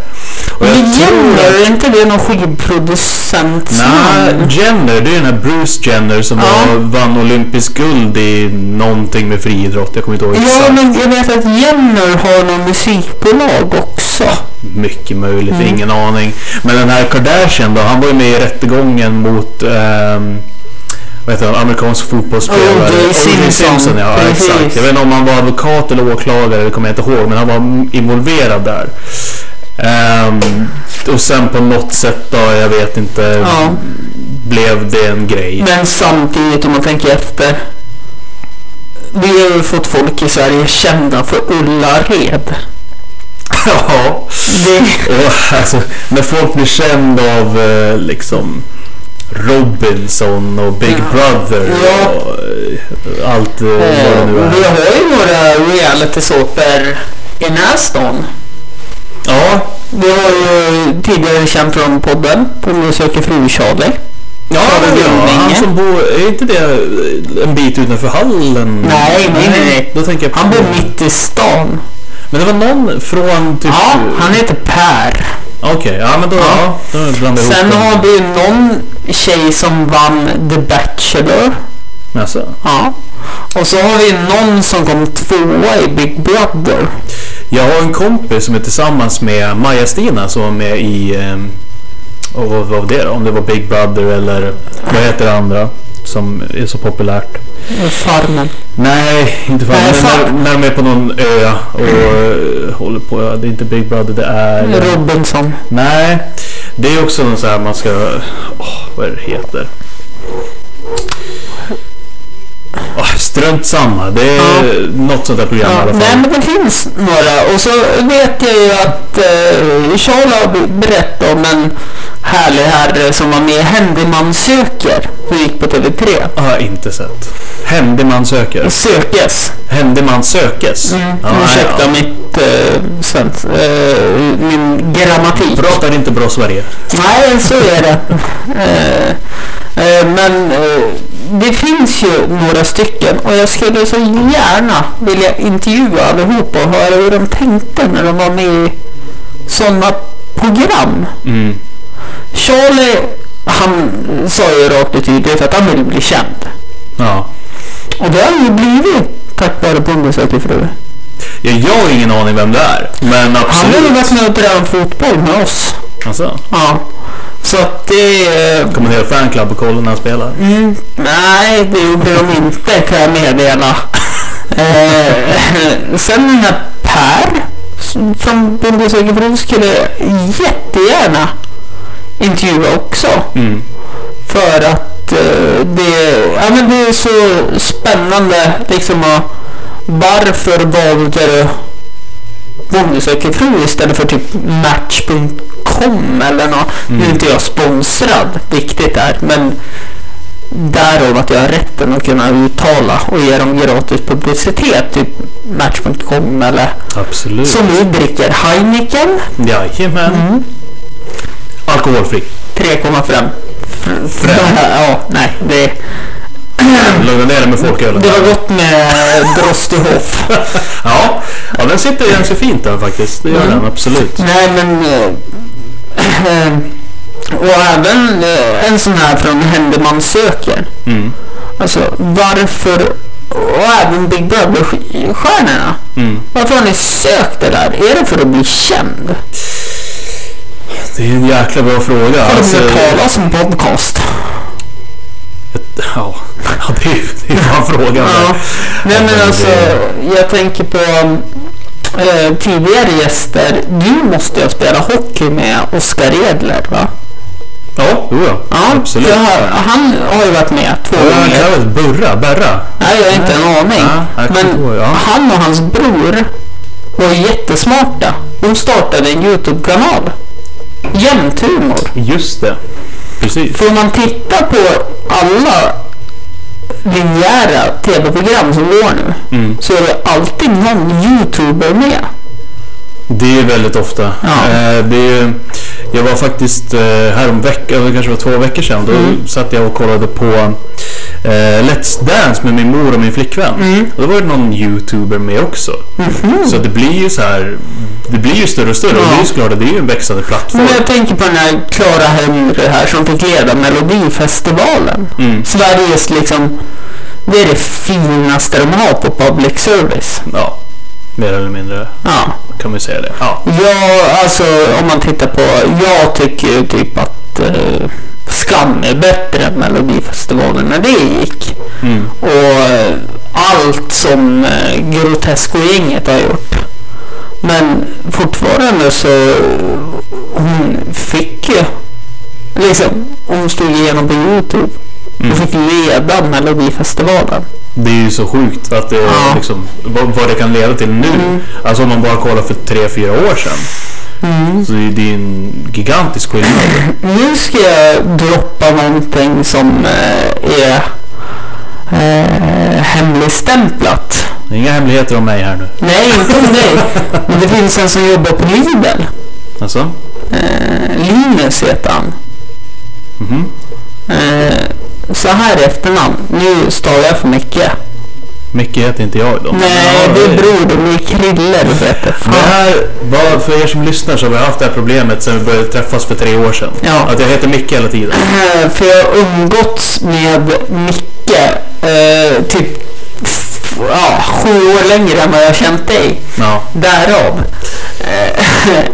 Och jag
Men
tror-
Jenner, är inte det någon skivproducent?
Nej, Jenner, det är den här Bruce Jenner som
Ja.
var, vann olympisk guld i någonting med friidrott. Jag kommer inte ihåg
Ja,
exakt.
men jag vet att Jenner har någon musikbolag också.
Mycket möjligt,
Mm.
ingen aning. Men den här Kardashian då, han var ju med i rättegången mot ehm, vad heter han, amerikansk fotbollsspelare.
O.J. Simpson.
ja,
Precis.
exakt. Jag vet inte om han var advokat eller åklagare, det kommer jag inte ihåg, men han var involverad där. Ehm, och sen på något sätt då, jag vet inte
Ja.
blev det en grej.
Men samtidigt om man tänker efter. Vi har ju fått folk i Sverige kända för Ullared.
Ja.
Det,
Och, alltså, när folk blir kända av eh, liksom Robinson och Big
Ja.
Brother
Ja.
och eh, allt eh, vad det nu
vi
är.
har ju några realitysåpor i Nästan.
Ja,
Vi har ju tidigare känt från podden, Polly söker fru Charlie.
ja,
Charlie
ja han
Lindänge.
som bor, är inte det eh, en bit utanför hallen?
Nej, nej, nej, nej.
Då tänker jag på-
Han bor mitt i stan.
Men det var någon från typ...
Ja, han heter Per.
Okej, ja men då,
Ja.
ja. då blandar jag
Sen
ihop
har vi någon tjej som vann The Bachelor.
dem. Alltså.
Ja. Och så har vi någon som kom tvåa i Big Brother.
Jag har en kompis som är tillsammans med Maja-Stina som var med i... ehm, och vad vad var det då? Om det var Big Brother eller vad heter det andra som är så populärt?
Farmen.
Nej, inte fan.
Nej,
men
fan.
När, när de är på någon ö och eh, håller på. ja, Det är inte Big Brother, det är...
Mm. Robinson.
Nej, det är också någon så här man ska... Åh, vad är det heter? Oh, strunt samma. Det är
Ja.
något sånt där program i
Ja,
alla
nej
fall.
men det finns några och så vet jag ju att eh, Charles har berättat om en härlig herre som var med i Händeman söker som gick på TV3.
Har jag inte sett. Händeman söker.
Sökes.
Händeman sökes.
Mm.
Ja,
Ursäkta
ja.
mitt eh, svensk, eh, min grammatik.
Pratar inte bra Sverige.
Nej, så är det. Eh, eh, Men eh, det finns ju några stycken och jag skulle så gärna vilja intervjua allihopa och höra hur de tänkte när de var med i sådana program.
Mm.
Charlie, han sa ju rakt och tydligt att han ville bli känd.
Ja.
Och det har han ju blivit tack vare Bonde söker fru.
Ja, Jag har ingen aning vem det är. Men
Han har ju
absolut.
varit med och tränat fotboll med oss.
Alltså,
Ja. Så att det... eh,
kommer en hel fanclub och kollar när han spelar.
Mm, nej, det gjorde de inte kan jag meddela. Eh, sen den här Per som- från Bonde söker fru skulle jättegärna intervjua också.
Mm.
För att eh, det, ja, men det är så spännande liksom att varför valde du Bonde söker fru istället för typ Match.com eller något. Nu är inte jag sponsrad riktigt där men därav att jag har rätten att kunna uttala och ge dem gratis publicitet. Typ Match.com eller
Absolut.
som vi dricker Heineken
Jajamän.
Mm.
Alkoholfri.
3,5. Ja, nej det
Lugna ner dig med folkölen.
Det var gott med Drostihoff.
Ja, ja den sitter ju ganska fint där faktiskt. Det gör
Mm.
den absolut.
Nej men... eh, Och även eh, en sån här från Händeman söker.
Mm.
Alltså varför... Och även Big Brother-stjärnorna.
Mm.
Varför har ni sökt det där? Är det för att bli känd?
Det är en jäkla bra fråga.
Har
Alltså,
de hört talas om podcast?
ja, ja, det är ju det är fan frågan.
Ja.
där.
Nej
men det-
men alltså, jag tänker på eh, tidigare gäster. Du måste jag spela hockey med Oskar Edler va?
Ja, jo, ja.
Ja,
absolut.
för han- han har ju varit med två
Vad är han
gånger.
kallad? Burra? Berra?
Nej, jag har inte en aning.
Ja, jag kommer
Men
ihåg, ja.
han och hans bror var jättesmarta. De startade en Youtube-kanal. Jämthumor.
Just det. Precis.
För om man tittar på alla linjära tv-program som går nu
Mm.
så är det alltid någon youtuber med.
Det är väldigt ofta.
Ja.
Eh, det är, jag var faktiskt eh, häromveckan, det kanske var två veckor sedan, då satt jag och kollade på eh, Let's Dance med min mor och min flickvän. Och då var det någon youtuber med också. Så det blir ju så här, det blir ju större och större. Och det är ju såklart, det är ju en växande plattform.
Men jag tänker på den här Clara Henry här som fick leda Melodifestivalen.
Mm.
Sveriges liksom, det är det finaste de har på public service.
Ja, mer eller mindre
Ja.
kan man ju säga det. Ja.
Jag, alltså om man tittar på, jag tycker ju typ att eh, Skam är bättre än Melodifestivalen när det gick.
Mm.
Och eh, allt som eh, Grotesco-gänget har gjort. Men fortfarande så, eh, hon fick ju liksom hon slog igenom på Youtube. Hon fick leda Melodifestivalen.
Det är ju så sjukt att det,
Ja. Mm.
liksom, vad, vad det kan leda till nu. Alltså om man bara kollar för tre fyra år sedan. Så det, det är en gigantisk skillnad.
Nu ska jag droppa någonting som eh, är eh, hemligstämplat.
Det är inga hemligheter om mig här nu.
Nej, inte om dig. Men det finns en som jobbar på Lidl.
Alltså?
Eh, Linus heter han.
Mhm.
Eh, så här i efternamn. Nu stavar jag för mycket.
Micke heter inte jag då.
Nej,
Ja,
det är bror. Det är Krille. Du vet det.
Det här, bara för er som lyssnar så har vi haft det här problemet sedan vi började träffas för tre år sedan.
Ja.
Att jag heter Micke hela tiden.
Eh, För jag har umgåtts med Micke eh, typ f- ja, sju år längre än vad jag har känt dig.
Ja.
Därav. Eh,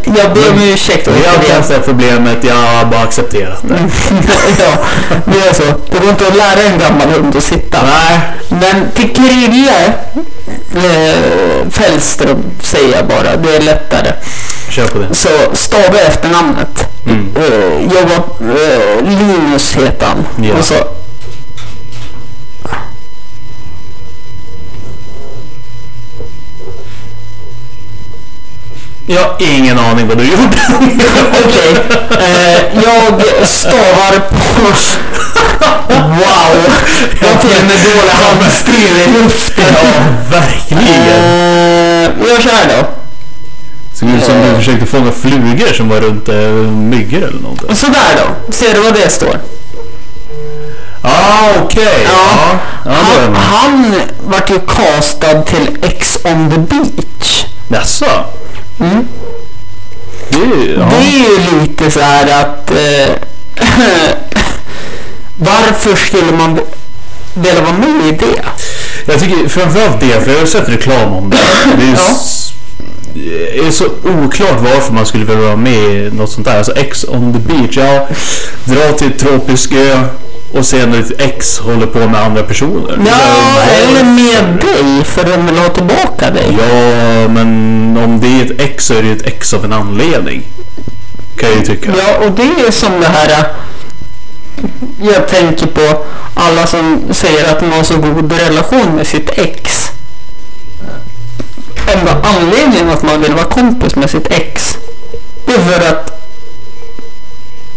jag ber om ursäkt
Vi har alltid haft det alltså- här problemet, jag har bara accepterat det.
ja, det är så. Det går inte att lära en gammal hund att sitta.
Nej.
Men till Krille eh, Fällström säger jag bara, det är lättare.
Kör på det.
Så stava efternamnet.
Mm.
Eh, jag var, eh, Linus heter han.
Ja.
Och så,
Jag har ingen aning vad du gjorde.
Okej. Eh, jag stavar på... Wow! Jag har till och med dålig handstil i luften.
Ja, verkligen.
Eh, jag kör då.
Såg ut som du
Eh.
försökte fånga flugor som var runt eh, myggor eller någonting.
Sådär då. Ser du vad det står?
Ah, okej.
Ja.
Ja, då är
Han,
man.
han vart ju castad till Ex on the beach.
Jaså? Det är ju... Ja.
Mm. Det är ju lite så här att... Eh, varför skulle man vilja vara med i det?
Jag tycker framförallt det, för jag har sett reklam om det. Det är, ju
Ja.
s- det är så oklart varför man skulle vilja vara med i något sånt där. Alltså X on the beach, ja. Dra till tropisk ö och se när ett ex håller på med andra personer.
Ja,
Varför?
eller med dig, för de vill ha tillbaka dig.
Ja, men om det är ett ex så är det ju ett ex av en anledning. Kan jag ju tycka.
Ja, och det är som det här... äh, Jag tänker på alla som säger att de har så god relation med sitt ex. Enda anledningen att man vill vara kompis med sitt ex, det är för att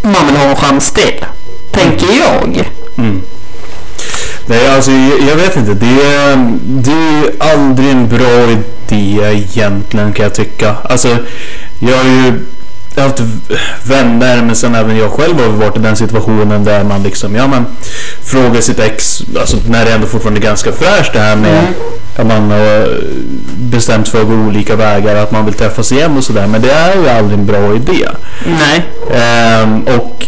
man vill ha en chans till. Tänker jag.
Mm. Nej, alltså jag, jag vet inte. Det, är- det är ju aldrig en bra idé egentligen kan jag tycka. Alltså, jag har ju haft v- vänner, men sen även jag själv har varit i den situationen där man liksom, ja men frågar sitt ex, alltså när det ändå fortfarande är ganska fräscht det här med att man har bestämt sig för att gå olika vägar, att man vill träffas igen och sådär. Men det är ju aldrig en bra idé.
Nej.
Ehm, och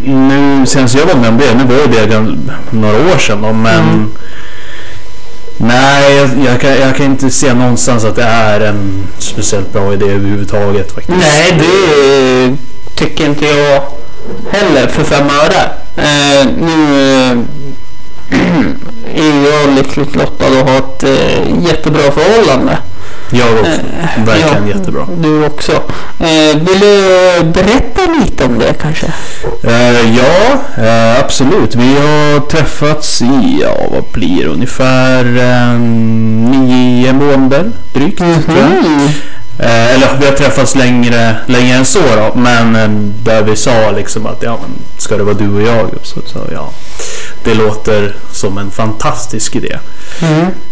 nu senast jag var med om det, nu var ju det gan- några år sedan då, men
Mm.
Nej, jag, jag, kan, jag kan inte se någonstans att det är en speciellt bra idé överhuvudtaget faktiskt.
Nej, det tycker inte jag heller för fem öre. Eh, nu eh, är jag lyckligt lottad och har ett eh, jättebra förhållande.
Jag också.
Eh,
Verkligen
ja.
jättebra.
Du också. Eh, vill du berätta lite om det kanske?
Eh, ja, eh, absolut. Vi har träffats i, ja vad blir det, ungefär eh, nio månader drygt tror
Mhm.
jag.
Mm.
Eh, eller vi har träffats längre, längre än så då, men eh, där vi sa liksom att ja, men ska det vara du och jag? Så, så, ja. Det låter som en fantastisk idé.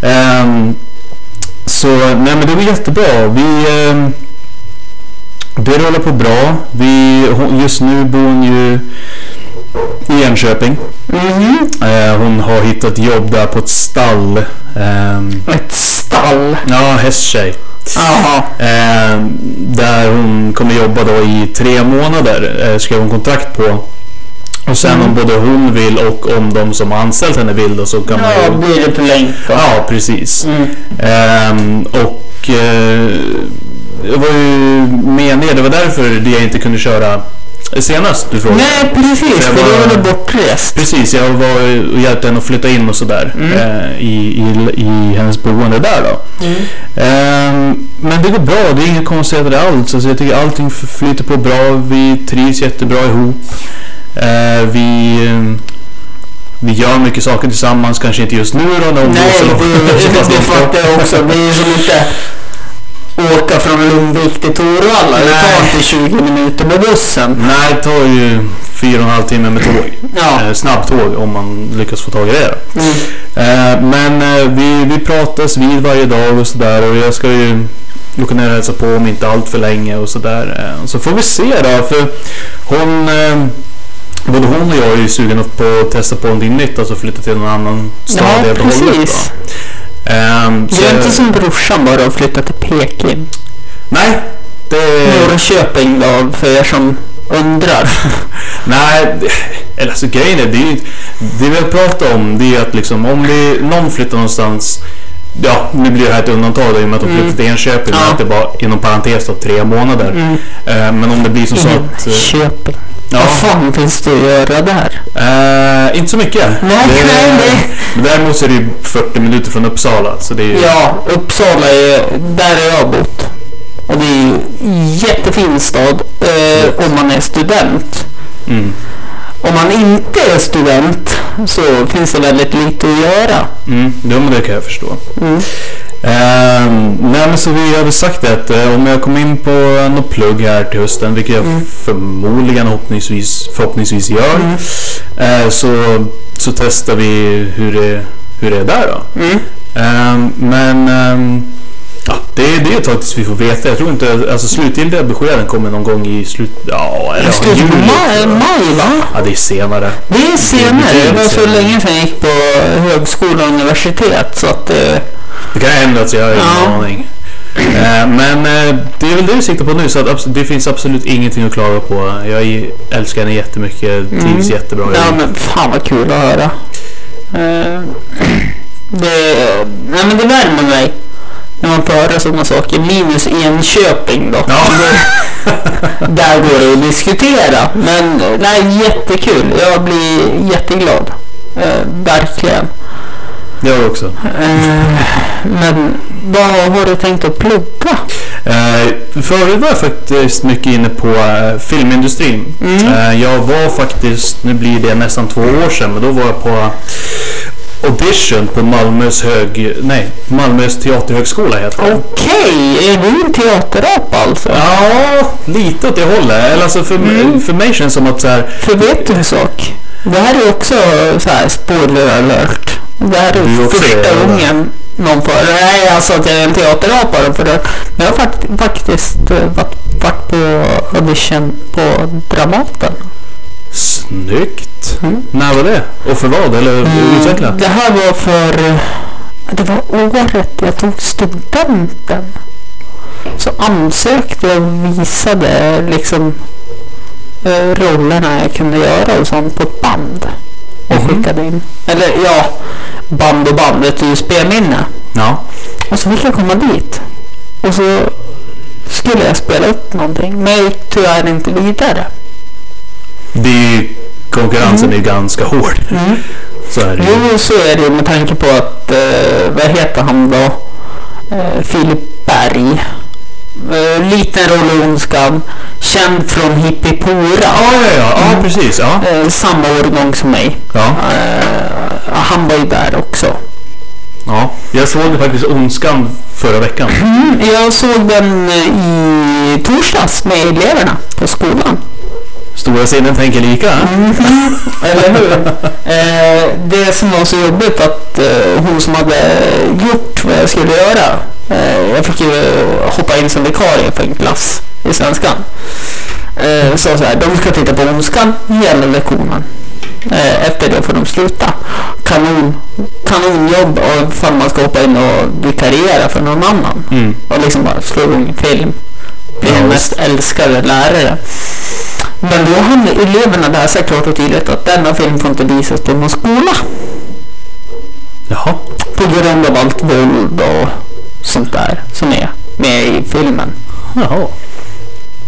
Ehm, så nej men det var jättebra. Vi, ehm, det rullar på bra. Vi, hon, just nu bor hon ju i Enköping. Eh, hon har hittat jobb där på ett stall. Ehm,
Ett stall.
ja, hästtjej.
Jaha.
Eh, där hon kommer jobba då i tre månader, eh, skrev hon kontrakt på. Och sen
Mm.
om både hon vill och om de som har anställt henne vill då så kan man
Ja,
ju...
blir det på länk.
Ja, precis.
Mm.
Ehm, och eh, jag var ju med ner, det var därför det jag inte kunde köra senast du frågade.
Nej, precis.
Det
För
var-
då var du bortrest.
Precis, jag var och hjälpte henne att flytta in och sådär
Mm.
eh, i, i, i hennes boende där då.
Mm.
Ehm, men det går bra, det är inga konstigheter alls. Alltså jag tycker allting f- flyter på bra, vi trivs jättebra ihop. Eh, vi, eh, vi gör mycket saker tillsammans, kanske inte just nu då när hon
Nej,
blåser och-
det, det, det fattar jag också. Det är ju som inte åka från Lundvik till Torvalla. Det tar
Nej.
inte 20 minuter med bussen.
Nej, det tar ju fyra och en halv timme med tåg.
Ja. Mm.
Eh, snabbtåg om man lyckas få tag i det. då. Eh, men eh, vi, vi pratas vid varje dag och sådär och jag ska ju gå kunna hälsa på om inte allt för länge och sådär. Eh, så får vi se då för hon, eh, både hon och jag är ju sugna på att testa på någonting nytt, alltså flytta till någon annan stad
Ja,
helt och hållet.
precis.
då. Eh, så
Det är
jag-
inte som brorsan bara och flytta till Peking.
Nej, det...
Eh. Norrköping då, för er som undrar.
Nej, det- eller alltså grejen är det, är ju, inte- det vi har pratat om det är att liksom om vi, någon flyttar någonstans Ja, nu blir det här ett undantag då, i och med att de flyttar till Enköping.
Mm. Ja.
Ja. Att det var inom parentes då, tre månader. Eh, men om det blir som så att... eh,
Köping.
Ja,
Mm. Vad fan finns det att göra där?
eh, inte så mycket.
Nej,
det,
nej, nej.
Men däremot så är det ju 40 minuter från Uppsala. Så det är ju,
Ja, Uppsala är där har jag bott. Och det är ju en jättefin stad eh, om man är student.
Mm,
Om man inte är student så finns det väldigt lite att göra.
mm, jo, men det kan jag förstå.
Mm.
Ehm, nej men så vi har väl sagt det att eh, om jag kommer in på eh, något plugg här till hösten, vilket jag
Mm.
förmodligen förhoppningsvis, förhoppningsvis gör, eh, så, så testar vi hur det, hur det är där då.
Mm.
Ehm, men ehm, ja, det, det är ett tag tills vi får veta. Jag tror inte, alltså slutgiltiga beskeden kommer någon gång i slut, ja, eller, ja,
Slutet på
juli.
maj,
tror jag.
maj va?
Ja, det är senare.
Det är senare. Det var så
senare.
länge sedan jag gick på högskola och universitet så att eh,
Det kan hända att jag har ingen
Ja.
aning. Eh, Men eh, det är väl det vi siktar på nu så att abs- det finns absolut ingenting att klaga på. Jag är- älskar henne jättemycket, trivs jättebra. i-
Mm. Ja men fan vad kul att höra. Eh, Det, nej men det värmer mig när man får höra sådana saker. Minus Enköping då.
Ja.
Där går det att diskutera. Men eh, nej, jättekul. Jag blir jätteglad. Eh, verkligen.
Jag också.
Eh, men vad har du tänkt att plugga?
Eh, Förut var jag faktiskt mycket inne på eh, filmindustrin.
Mm.
Eh, Jag var faktiskt, nu blir det nästan två år sedan, men då var jag på audition på Malmös, hög, nej, Malmös teaterhögskola heter det.
Okej, är du en teaterapa alltså?
Ja, lite åt det hållet. Eller alltså för, för mig känns det som att så här,
Mm. För vet du en sak? Det här är också så här spoiler alert. Det här
Du
är
också
första
är det.
gången någon får... Nej, jag sa att jag är en teaterapa då, för det. Men jag har fakt- faktiskt eh, varit, varit på audition på Dramaten.
Snyggt!
Mm.
När var det? Och för vad? Eller utveckla?
Det här var för... eh, Det var året jag tog studenten. Så ansökte jag och visade liksom eh, rollerna jag kunde göra och sånt på ett band. Och
Mhm.
skickade in. Eller ja, band och band, ett USB-minne.
Ja.
Och så fick jag komma dit. Och så skulle jag spela upp någonting. Men jag gick tyvärr inte vidare.
Det är ju, konkurrensen
Mm.
är ju ganska hård. Så är det ju.
Jo, så är det ju med tanke på att, eh, vad heter han då? Eh, Filip Berg. Eh, liten roll i Ondskan, känd från Hippipora.
Ja, ja, ja. ja precis. Ja.
Eh, samma årgång som mig.
Ja.
Eh, han var ju där också.
ja. Jag såg faktiskt Ondskan förra veckan.
Mm, jag såg den eh, i torsdags med eleverna på skolan.
Stora sinnen tänker lika.
Mm. Eller hur? eh, det som var så jobbigt att eh, hon som hade gjort vad jag skulle göra, eh, jag fick ju hoppa in som vikarie för en klass i svenskan, eh, sa så här, de ska titta på Ondskan hela lektionen. Eh, efter det får de sluta. Kanon, kanonjobb och ifall man ska hoppa in och vikariera för någon annan.
Mm.
Och liksom bara slå igång film. Bli
Ja,
den
visst.
mest älskade lärare. Men då hann eleverna läsa klart och tydligt att denna film får inte visas på någon skola.
Jaha.
På grund av allt våld och sånt där som är med i filmen.
Jaha.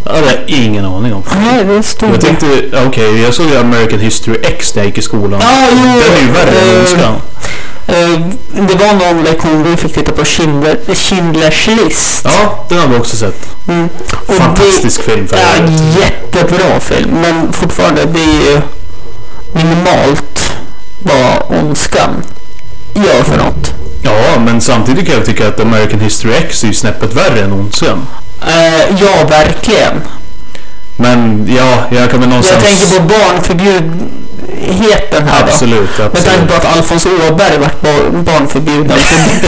Ja, Det har jag ingen aning om.
Nej, det stod
Jag tänkte, okej, jag såg ju American History X när jag gick i skolan.
Ja, jo,
Den är ju värre än
eh,
Ondskan.
Eh, Det var någon lektion vi fick titta på Schindler, Schindlers list.
Ja, den har vi också sett.
Mm. Och
Fantastisk film för
det är
övrigt.
en jättebra film, men fortfarande, det är ju minimalt vad ondskan gör för något.
Ja, men samtidigt kan jag tycka att American History X är ju snäppet värre än Ondskan.
Eh, ja, verkligen.
Men ja, jag kan väl någonstans...
Jag tänker på barnförbjudheten här då.
Absolut,
Med
absolut.
tanke på att Alfons Åberg vart bar- barnförbjuden på,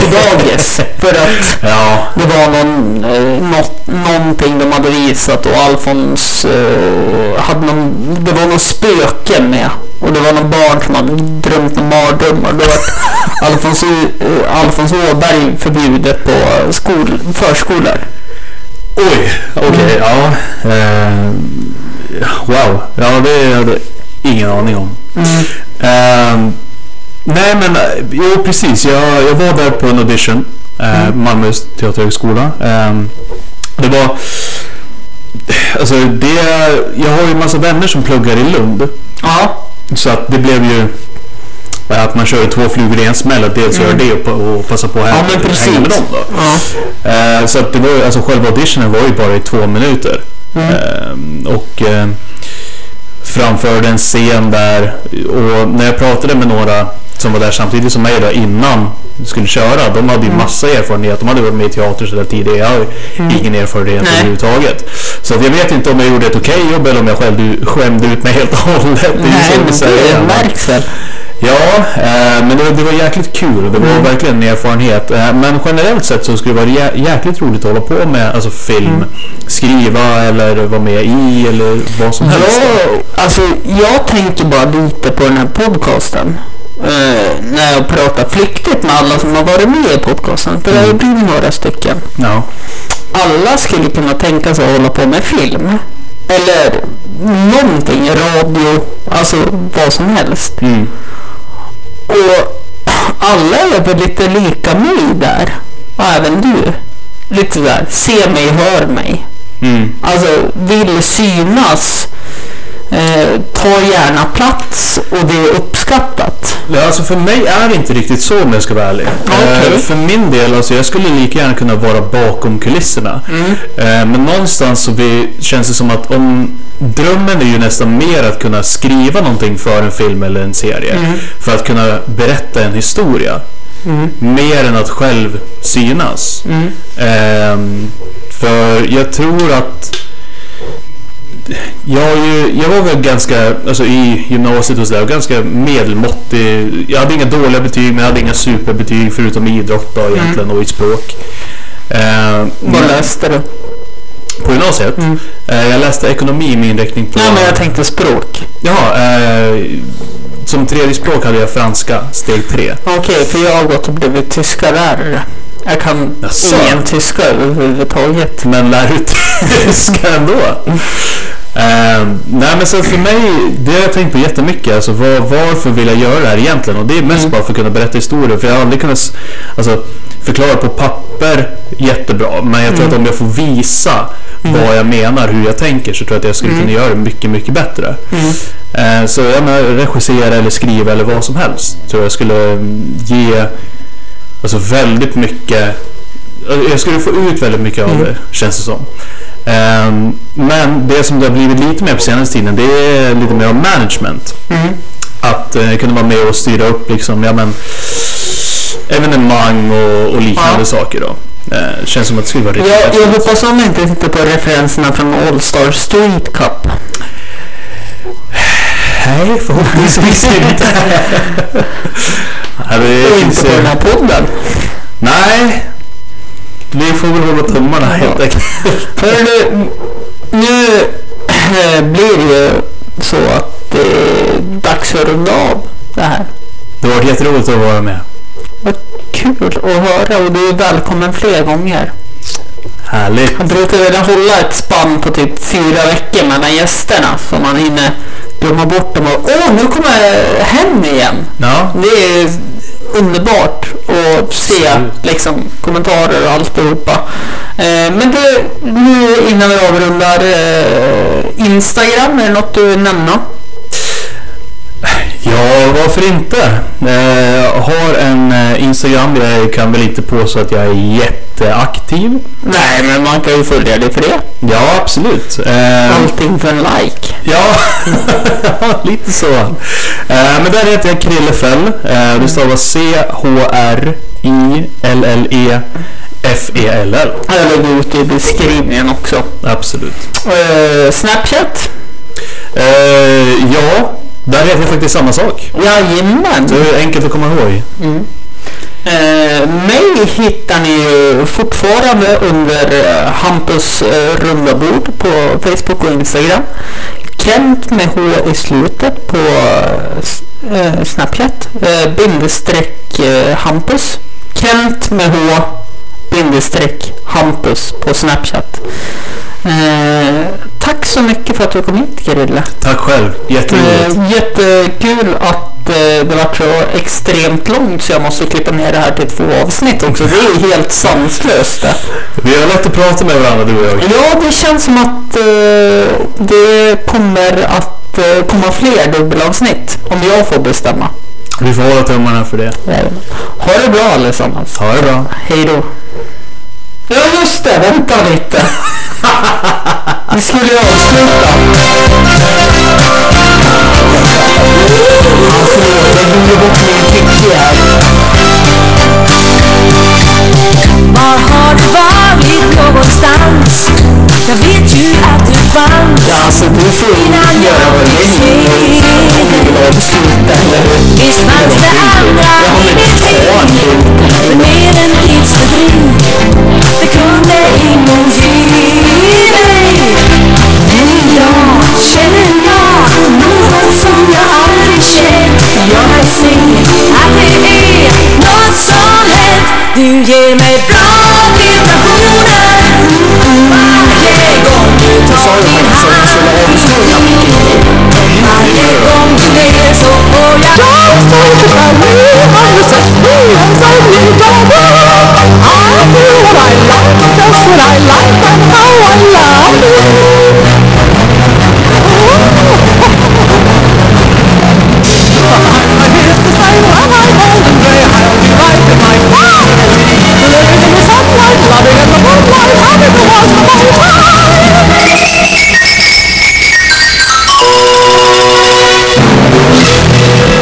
på dagis. För att
Ja,
det var någon, eh, något, någonting de hade visat och Alfons eh, hade någon, det var någon spöke med. Och det var någon barn som hade drömt någon mardröm. Och då vart Alfons, O- eh, Alfons Åberg förbjudet på skol, förskolor.
oj, okej,
Mm.
ja. Eh, wow, ja det hade jag ingen aning om.
Mm.
Eh, nej men, eh, jo precis. Jag, jag var där på en audition. Eh,
Mm.
Malmö teaterhögskola. Eh, det var... Alltså det... Jag har ju en massa vänner som pluggar i Lund.
Ja.
Så att det blev ju eh, att man körde två flugor i en smäll. Att dels gör det och, pa- och passa på att
Mm. Ja,
hänga,
men precis.
hänga med dem då.
Ja.
Eh, så att det var ju, alltså själva auditionen var ju bara i två minuter. Eh, och eh, framförde en scen där. Och när jag pratade med några som var där samtidigt som mig då, innan vi skulle köra. De hade ju
Mm.
massa erfarenhet. De hade varit med i teater så där tidigare. Jag har ju ingen erfarenhet
Nej.
överhuvudtaget. Så att jag vet inte om jag gjorde ett okej jobb eller om jag själv skämde ut mig helt och hållet. Det är ju så
Nej,
vi
men
säger.
det märks väl.
Ja, eh, men det, var- det var jäkligt kul. Det var verkligen en erfarenhet. Eh, men generellt sett så skulle det vara jä- jäkligt roligt att hålla på med alltså film. Skriva eller vara med i eller vad som helst.
Ja, alltså jag tänker bara lite på den här podcasten. Eh, när jag pratar flyktigt med alla som har varit med i podcasten. För det har ju blivit några stycken.
Ja.
Alla skulle kunna tänka sig att hålla på med film. Eller någonting, radio, alltså vad som helst.
Mm.
Och alla är väl lite lika mig där. Och även du. Lite sådär, se mig, hör mig.
Mm.
Alltså vill synas. Eh, ta gärna plats och det är uppskattat.
Ja, Alltså för mig är det inte riktigt så om jag ska vara ärlig.
Okej.
Eh, För min del, alltså jag skulle lika gärna kunna vara bakom kulisserna. Eh, Men någonstans så vi, känns det som att om drömmen är ju nästan mer att kunna skriva någonting för en film eller en serie. För att kunna berätta en historia. Mer än att själv synas.
Mm.
Ehm, för jag tror att jag, har ju, jag var väl ganska, alltså i gymnasiet och sådär, ganska medelmåttig. Jag hade inga dåliga betyg men jag hade inga superbetyg förutom i idrott då egentligen och i språk. Eh,
Mm. Vad
men-
läste du?
På gymnasiet? Eh, jag läste ekonomi med inriktning på...
Nej men jag tänkte språk.
Jaha, eh, som tredje språk hade jag franska, steg tre.
Okej, för jag har gått och blivit tyskarlärare. Jag kan
Jaså?
ingen tyska överhuvudtaget.
Men lär ut tyska ändå. Eh, nej men så för mig, det har jag tänkt på jättemycket. Alltså, var, varför vill jag göra det här egentligen? Och det är mest bara för att kunna berätta historier. För jag har aldrig kunnat s- alltså, förklara på papper jättebra. Men jag tror att om jag får visa vad jag menar, hur jag tänker, så tror jag att jag skulle kunna göra det mycket, mycket bättre. Eh, så jag menar, regissera eller skriva eller vad som helst. Tror jag skulle mm, ge alltså, väldigt mycket Eh, jag skulle få ut väldigt mycket
Mm.
av det, känns det som. Ehm, men det som det har blivit lite mer på senaste tiden, det är lite mer av management.
Mm.
Att eh, kunna vara med och styra upp liksom, ja men evenemang och, och liknande
Ja.
saker då. Eh, känns som att det skulle vara riktigt
Jag, jag
häftigt.
hoppas att de inte tittar på referenserna från All Star Street Cup.
Nej, förhoppningsvis inte. Nej, det
Och
finns
inte på
ju-
den här podden.
Nej, vi får väl hålla tummarna helt
Ja.
enkelt.
Hörru du, nu eh, blir det ju så att det är dags för att runda av det här.
Det har varit jätteroligt att vara med.
Vad kul att höra och du är välkommen fler gånger.
Härligt.
Han brukar vilja hålla ett spann på typ fyra veckor mellan gästerna så man hinner glömma bort dem och åh, nu kommer jag hem igen.
Ja,
Det är underbart att se
Absolut.
liksom, kommentarer och alltihopa. Eh, men det, nu innan vi avrundar, eh, Instagram, är det något du vill nämna?
Ja, varför inte? Eh, har en eh, Instagram där jag kan väl inte påstå att jag är jätteaktiv.
Nej, men man kan ju följa dig för det.
Ja, absolut. Eh,
Mm. Allting för en like.
Ja, lite så. Eh, men där heter jag Krillefell. Eh, det stavas E C-H-R-I-L-L-E-F-E-L-L.
Jag lägger ut i beskrivningen också.
Absolut.
Eh, Snapchat?
Eh, ja, där heter jag faktiskt samma sak.
Jajamän.
Så det är enkelt att komma ihåg.
Eh, mig hittar ni ju fortfarande under eh, Hampus eh, runda bord på Facebook och Instagram. Kent med H i slutet på eh, s- eh, Snapchat. Eh, bindestreck eh, Hampus. Kent med H bindestreck Hampus på Snapchat. Eh, tack så mycket för att du kom hit Gerilla.
Tack själv. Jätteroligt.
Eh, jättekul att eh, det var så extremt långt så jag måste klippa ner det här till två avsnitt också. Det är ju helt sanslöst. det.
Vi har lätt att prata med varandra du och jag.
Ja, det känns som att eh, det kommer att eh, komma fler dubbelavsnitt om jag får bestämma.
Vi får hålla tummarna för det.
Ha det bra allesammans.
Ha det bra.
Hej då. Ja, just det. Vänta lite. Vi skulle ju avsluta. Ja, Förlåt, jag glömde bort min kicke här.
Var har du varit någonstans? Jag vet ju att du fanns
Alltså, du får
innan
göra
jag
vad du
fick
vill.
se
Det var beslutet, eller hur?
Visst fanns det
Jag
andra
har mitt barn
ingenting
till.
Men mer än tidsfördriv Det kunde ingen ge dig Men idag känner jag något som jag aldrig känt Jag kan se att det är något som hänt Du ger mig bra